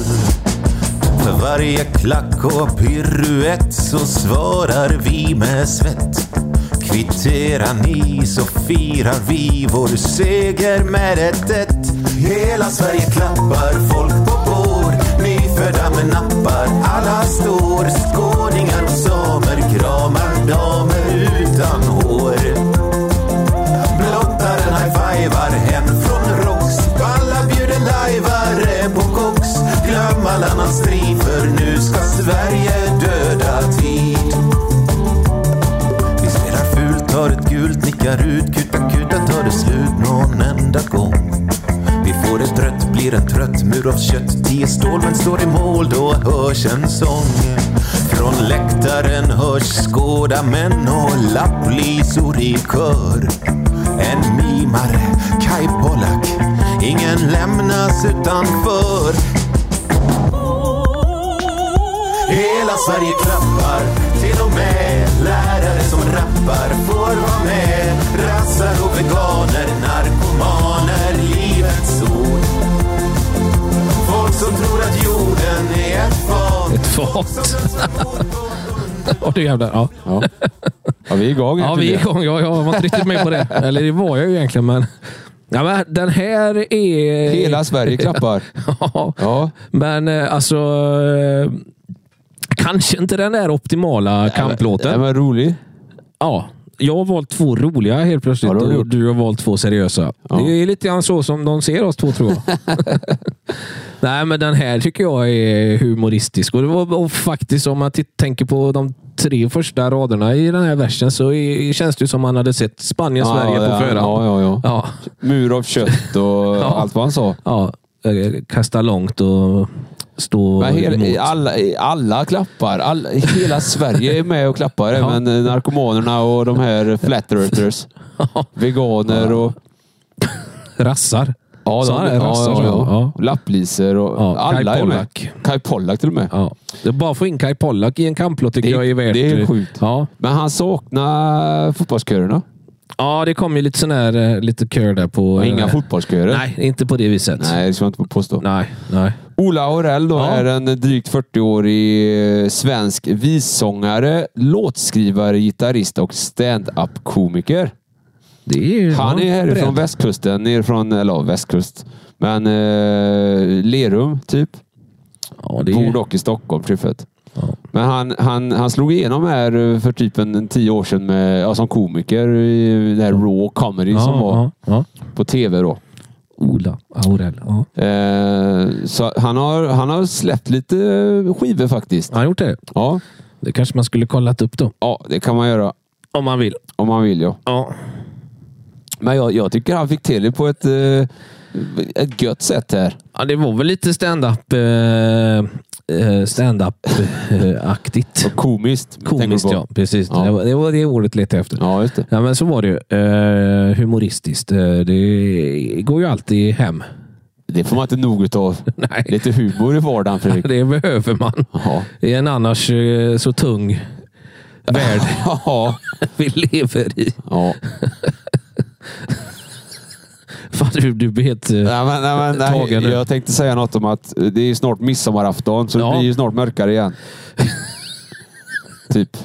För varje klack och piruett så svarar vi med svett. Kvitterar ni så firar vi vår seger med ett ett. Hela Sverige klappar, folk på bord. Nyfödda med nappar, alla står. Skåningar och samer kramar damer utan hår. Blottaren high-fivar hem från Rox. Alla bjuder lajvare på koks. Glöm all annan strid, för nu ska Sverige döda tid. Vi spelar fult, tar ett gult, nickar ut, kutar kutar, tar det slut någon enda gång. Vi får ett rött, blir en trött mur av kött, tio stål, men står i mål, då hörs en sång. Från läktaren hörs skådamän och lapplisor i kör. En mimare, Kai Pollak, ingen lämnas utanför. Hela Sverige klappar, till och med lärare som rappar får vara med. Rassar och veganer, narkomaner, livets ord. Folk som tror att jorden är ett fat. Ett fat. Åh, du jävlar. Ja, Ja, ja vi är igång. ja vi är igång. Jag, jag var inte riktigt med på det. Eller det var jag ju egentligen, men... Ja, men den här är... Hela Sverige klappar. ja. Ja. Men eh, alltså... Eh, kanske inte den där optimala kamplåten. Den var rolig. Ja. Jag har valt två roliga helt plötsligt Ja, det har du och gjort. du har valt två seriösa. Det är lite grann så som de ser oss två, tror jag. Nej, men den här tycker jag är humoristisk. Och, det var, och faktiskt, om man titt- tänker på de tre första raderna i den här versen så är, känns det ju som man hade sett Spanien-Sverige ja, på förhand. Ja, ja, ja. ja. Mur av kött och allt vad han sa. ja. Eh, Kasta långt och stå Men emot. hel, alla, alla klappar. Alla, hela Sverige är med och klappar. Även eh, narkomanerna och de här flat earthers. Veganer och... Rassar. Ja, Så de, är det, rassar, ja, så. ja, Ja. ja. Lappliser och Ja, alla Kai är med. Pollak. Kai Pollak till och med. Ja. Det är Bara att få in Kai Pollak i en kamplåt tycker Det- jag är värt... det är sjukt. Ja. Men han saknar fotbollskörerna. Ja, det kom ju lite sån här, eh, lite kör där på... Och inga eh, fotbollskörer. Nej, inte på det viset. Nej, det ska jag inte påstå. nej. nej. Ola Aurell då Ja. är en drygt 40-årig eh, svensk vissångare, låtskrivare, gitarrist och stand-up-komiker. Det är ju, Han ja, är bredd. härifrån västkusten. Nerifrån, eller ja, västkust. Men eh, Lerum, typ. Ja, det är Bor ju, dock i Stockholm, Tryffet. Ja. Men han, han, han slog igenom här eh, för typ en, en tio år sedan med, ja, som komiker i det här Raw Comedy ja, som var ja, ja. på tv då. Ola Aurell. Ja. Eh, så han har, han har släppt lite skivor faktiskt. Har han gjort det? Ja. Det kanske man skulle kollat upp då. ja, det kan man göra Om man vill. om man vill. Ja. Ja. Men jag, jag tycker han fick till det på ett, eh, ett gött sätt här. ja det var väl lite stand-up eh, stand-up-aktigt. Komiskt. tänker du Komiskt på. ja, precis. Ja. Det var- Det var det ordet lite efter. Ja, just det. Ja, men så var det ju. Eh, humoristiskt. Eh, det går ju alltid hem. Det får man inte nog utav. Nej. Lite humor i vardagen, Fredrik. Det behöver man. Ja. I en annars eh, så tung värld Ja. vi lever i. ja. Fan, du, du blir helt... eh, Nej, men, nej, men, Tagen nu. nej. Jag tänkte säga något om att eh, det är ju snart midsommarafton, så Ja. det blir ju snart mörkare igen. typ.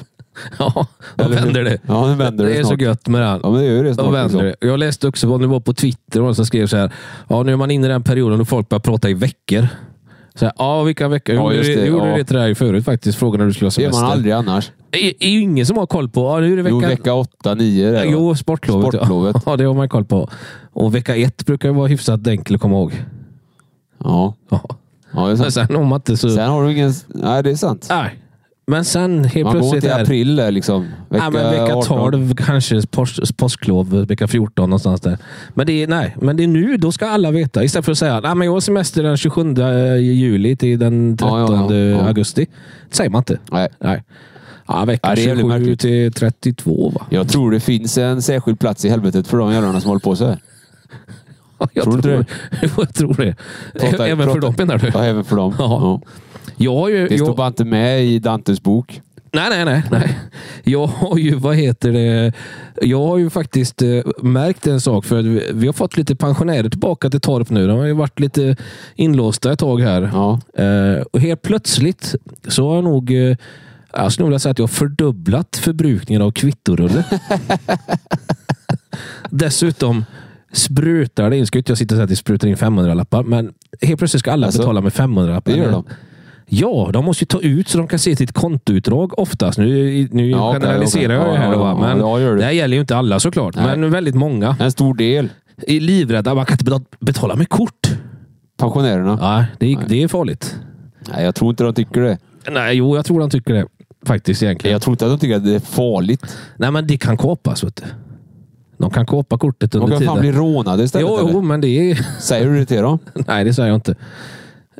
Ja, då Eller hur? vänder det. Ja, nu vänder det Det är så snart. gött med den. Ja, men det gör ju det Då snart. vänder liksom. det. Jag läste också vad det var på Twitter och som skrev så här. Ja, nu är man inne i den perioden då folk börjar prata i veckor. Så här, ja, vilka veckor? Ja, Jag gjorde just det, det, jag gjorde ja. det till dig förut faktiskt. Frågan när du skulle ha Det gör semester. man aldrig annars. Det är ju ingen som har koll på. Ja, nu är det Jo, vecka... vecka 8, 9 där. va? Jo, sportlovet. ja. Sportlovet. Ja, det har man koll på. Och vecka ett brukar ju vara hyfsat enkel att komma ihåg. Ja. Ja. ja det är Men sant. sen om man inte så... Sen har du ingen... Nej, det är sant. Nej. Men sen helt Man går plötsligt... inte i är- april där liksom. Vecka, Nej, men vecka 12 kanske, pås- påsklov, vecka 14 någonstans där. Men det, är, nej, men det är nu, då ska alla veta. Istället för att säga nej, men jag har semester den 27 juli till den 13 Ja, ja, ja, ja. augusti. Det säger man inte. Nej. Nej. Ja, vecka Ja, det är jävligt 27 märkligt. till 32 va? Jag tror det finns en särskild plats i helvetet för de jävlarna som håller på så här. Jag Tror du inte Jo, jag tror det. Prata- Även för prata- dem menar du? Ja, även för dem. Ja. Jag har ju... Det står Jag, bara inte med i Dantes bok. nej, nej, nej, nej. Jag har ju, vad heter det? Jag har ju faktiskt eh, märkt en sak. För att vi- vi har fått lite pensionärer tillbaka till Torp nu. De har ju varit lite inlåsta ett tag här. Ja. Eh, och helt plötsligt så har jag nog... Eh, jag skulle nog vilja säga att jag har fördubblat förbrukningen av kvittorulle. Dessutom sprutar det in. Ska inte jag sitta och säga att det sprutar in 500-lappar, men helt plötsligt ska alla Alltså, betala med 500-lappar. det gör de. Ja, de måste ju ta ut så de kan se sitt kontoutdrag oftast. Nu, nu Ja, okej, generaliserar okej. jag det här, Ja, då, ja, va? ja, men ja, gör det. det här gäller ju inte alla såklart, Nej. men väldigt många En stor del. är livrädda. Man kan inte betala- betala med kort. Pensionärerna. Ja, det, är- det är farligt. Nej, jag tror inte de tycker det. Nej, jo, jag tror han tycker det. Faktiskt egentligen. Jag tror inte att de tycker att det är farligt. Nej, men det kan kapas. Vet du. De kan kapa kortet De under kan fan tiden. bli rånade istället. jo, eller? jo, men det är... Säger du det till dem? Nej, det säger jag inte.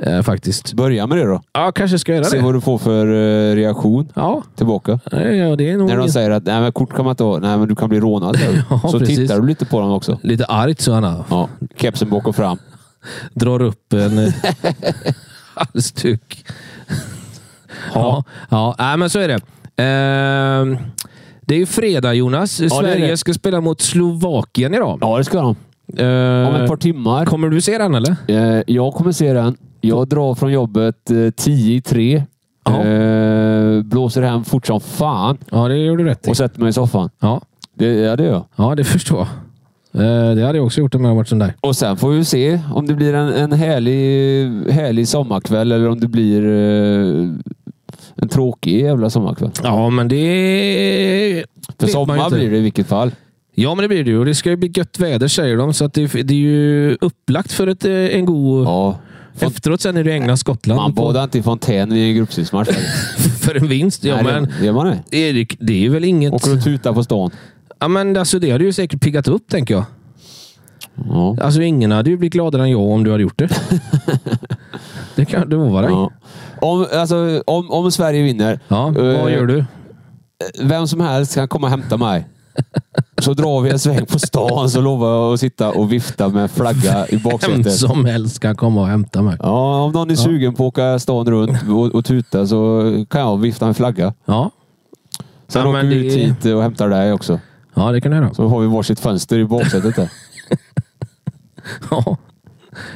Eh, faktiskt. Börja med det då. Ja, kanske ska jag göra Se det. vad du får för eh, reaktion Ja, tillbaka. nej, ja, det är nog När de ingen- säger att nej, men kort kan man inte ha. Nej, men du kan bli rånad. säger du. Ja, Så precis. tittar du lite på dem också. lite argt så han Ja, kepsen bak och fram. drar upp en eh, halsduk. ja, ja nej, men så är det. Ehm, det är ju fredag, Jonas. det är Sverige det. ska spela mot Slovakien idag. Ja, det ska de. Ehm, Om ett par timmar. kommer du se den, eller? Eh, jag kommer se den. Jag drar från jobbet eh, 10 i tre. Ja. Eh, blåser hem fort som fan Ja, det gjorde du rätt i. och sätter mig i soffan. Ja. Det, ja, det gör jag. Ja, det förstår jag. Eh, Det hade jag också gjort om jag varit som dig. Och sen får vi se om det blir en, en härlig, härlig sommarkväll eller om det blir eh, en tråkig jävla sommarkväll. Ja, men det... För vet man ju sommar inte. blir det i vilket fall. Ja, men det blir det ju. Och det ska ju bli gött väder säger de, så att det, det är ju upplagt för ett, eh, en god... Ja. Font- Efteråt sen är det England, Skottland Man på- badar inte i fontän vid en gruppspelsmatch. faktiskt. för en vinst. Ja, Nej, det- men det gör man det. Erik, det är ju väl inget... Åker och tutar på stan. Ja, men alltså, det hade ju säkert piggat upp, tänker jag. Ja. Alltså, ingen hade ju blivit gladare än jag om du hade gjort det. det kan det vara. Ja. Ja. Om, alltså, om, om Sverige vinner, ja, vad eh, gör du? vem som helst kan komma och hämta mig. Så drar vi en sväng på stan så lovar jag att sitta och vifta med flagga i Vem baksätet. som helst kan komma och hämta mig. Ja, om någon är sugen på att åka stan runt och, och tuta så kan jag vifta med flagga. Ja, Sen Ja, åker men vi det- ut hit och hämtar dig också. ja det kan du göra. Så har vi varsitt fönster i baksätet där. Ja.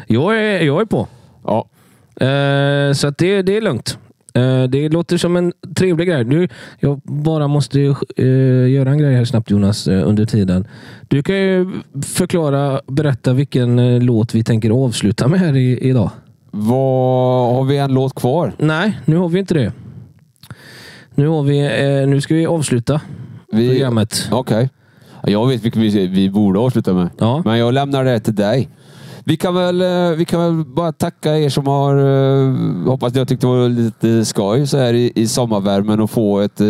Jag är, jag är på. Ja, Eh, så att det, det är lugnt. Eh, Det låter som en trevlig grej. Du, jag bara måste eh, göra en grej här snabbt Jonas, eh, under tiden. Du kan ju förklara, berätta vilken eh, låt vi tänker avsluta med här i, idag. Vad Har vi en låt kvar? Nej, nu har vi inte det. Nu, har vi, eh, nu ska vi avsluta Vi- programmet. Okej. Jag vet vilken vi, vi borde avsluta med. Ja. Men jag lämnar det till dig. Vi kan, väl, eh, vi kan väl bara tacka er som har... eh, Hoppas ni har tyckt det var lite skoj så här i, i sommarvärmen och få ett eh,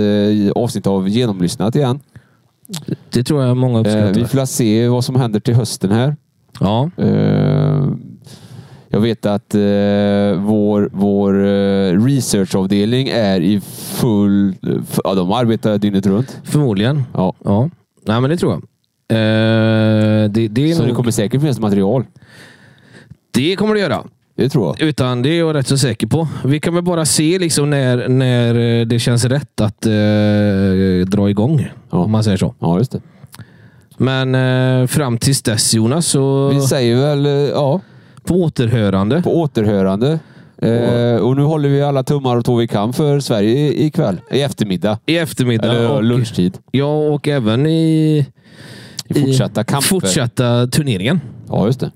avsnitt av Genomlyssnat igen. Det tror jag många Eh, uppskattar. vi får se vad som händer till hösten här. Ja, Eh, jag vet att eh, vår, vår eh, researchavdelning är i full... eh, f- Ja, de arbetar dygnet runt. förmodligen. Ja. Ja. Nej, men det tror jag. Eh, det, det, är Så nog, det kommer säkert finnas material. det kommer det göra. Det tror jag. Utan det är jag rätt så säker på. Vi kan väl bara se liksom när, när eh, det känns rätt att eh, dra igång. Ja. Om man säger så. Ja, just det. Men eh, fram tills dess Jonas, så Vi säger väl eh, ja, på återhörande. på återhörande. Eh, och nu håller vi alla tummar och tår vi kan för Sverige i- ikväll. I eftermiddag. I eftermiddag. Eller och, lunchtid. Ja, och även i, I fortsatta kamper. fortsatta turneringen. Ja, just det.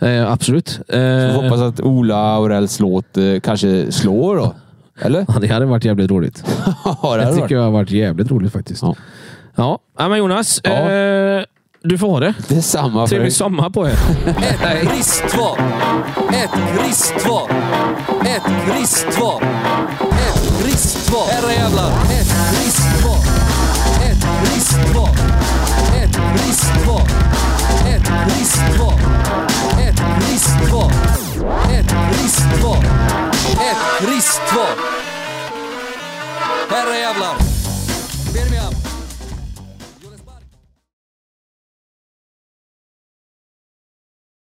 Eh, absolut. Eh, Vi får hoppas att Ola Aurells låt eh, kanske slår då. Eller? Ja, det hade varit jävligt roligt. Ja, Det hade varit. tycker jag har varit jävligt roligt faktiskt. Ja. Ja, ja. men Jonas. Ja. Eh, du får ha det. Detsamma för Trevlig dig. sommar på er. Ett kristval. Ett kristval. Ett kristval. Ett kristval. Herre jävlar. Ett kristval. Ett kristval. Ett kristval. Ett kristval. Ett kristval. Ett kristval. Ett kristval. Herre jävlar.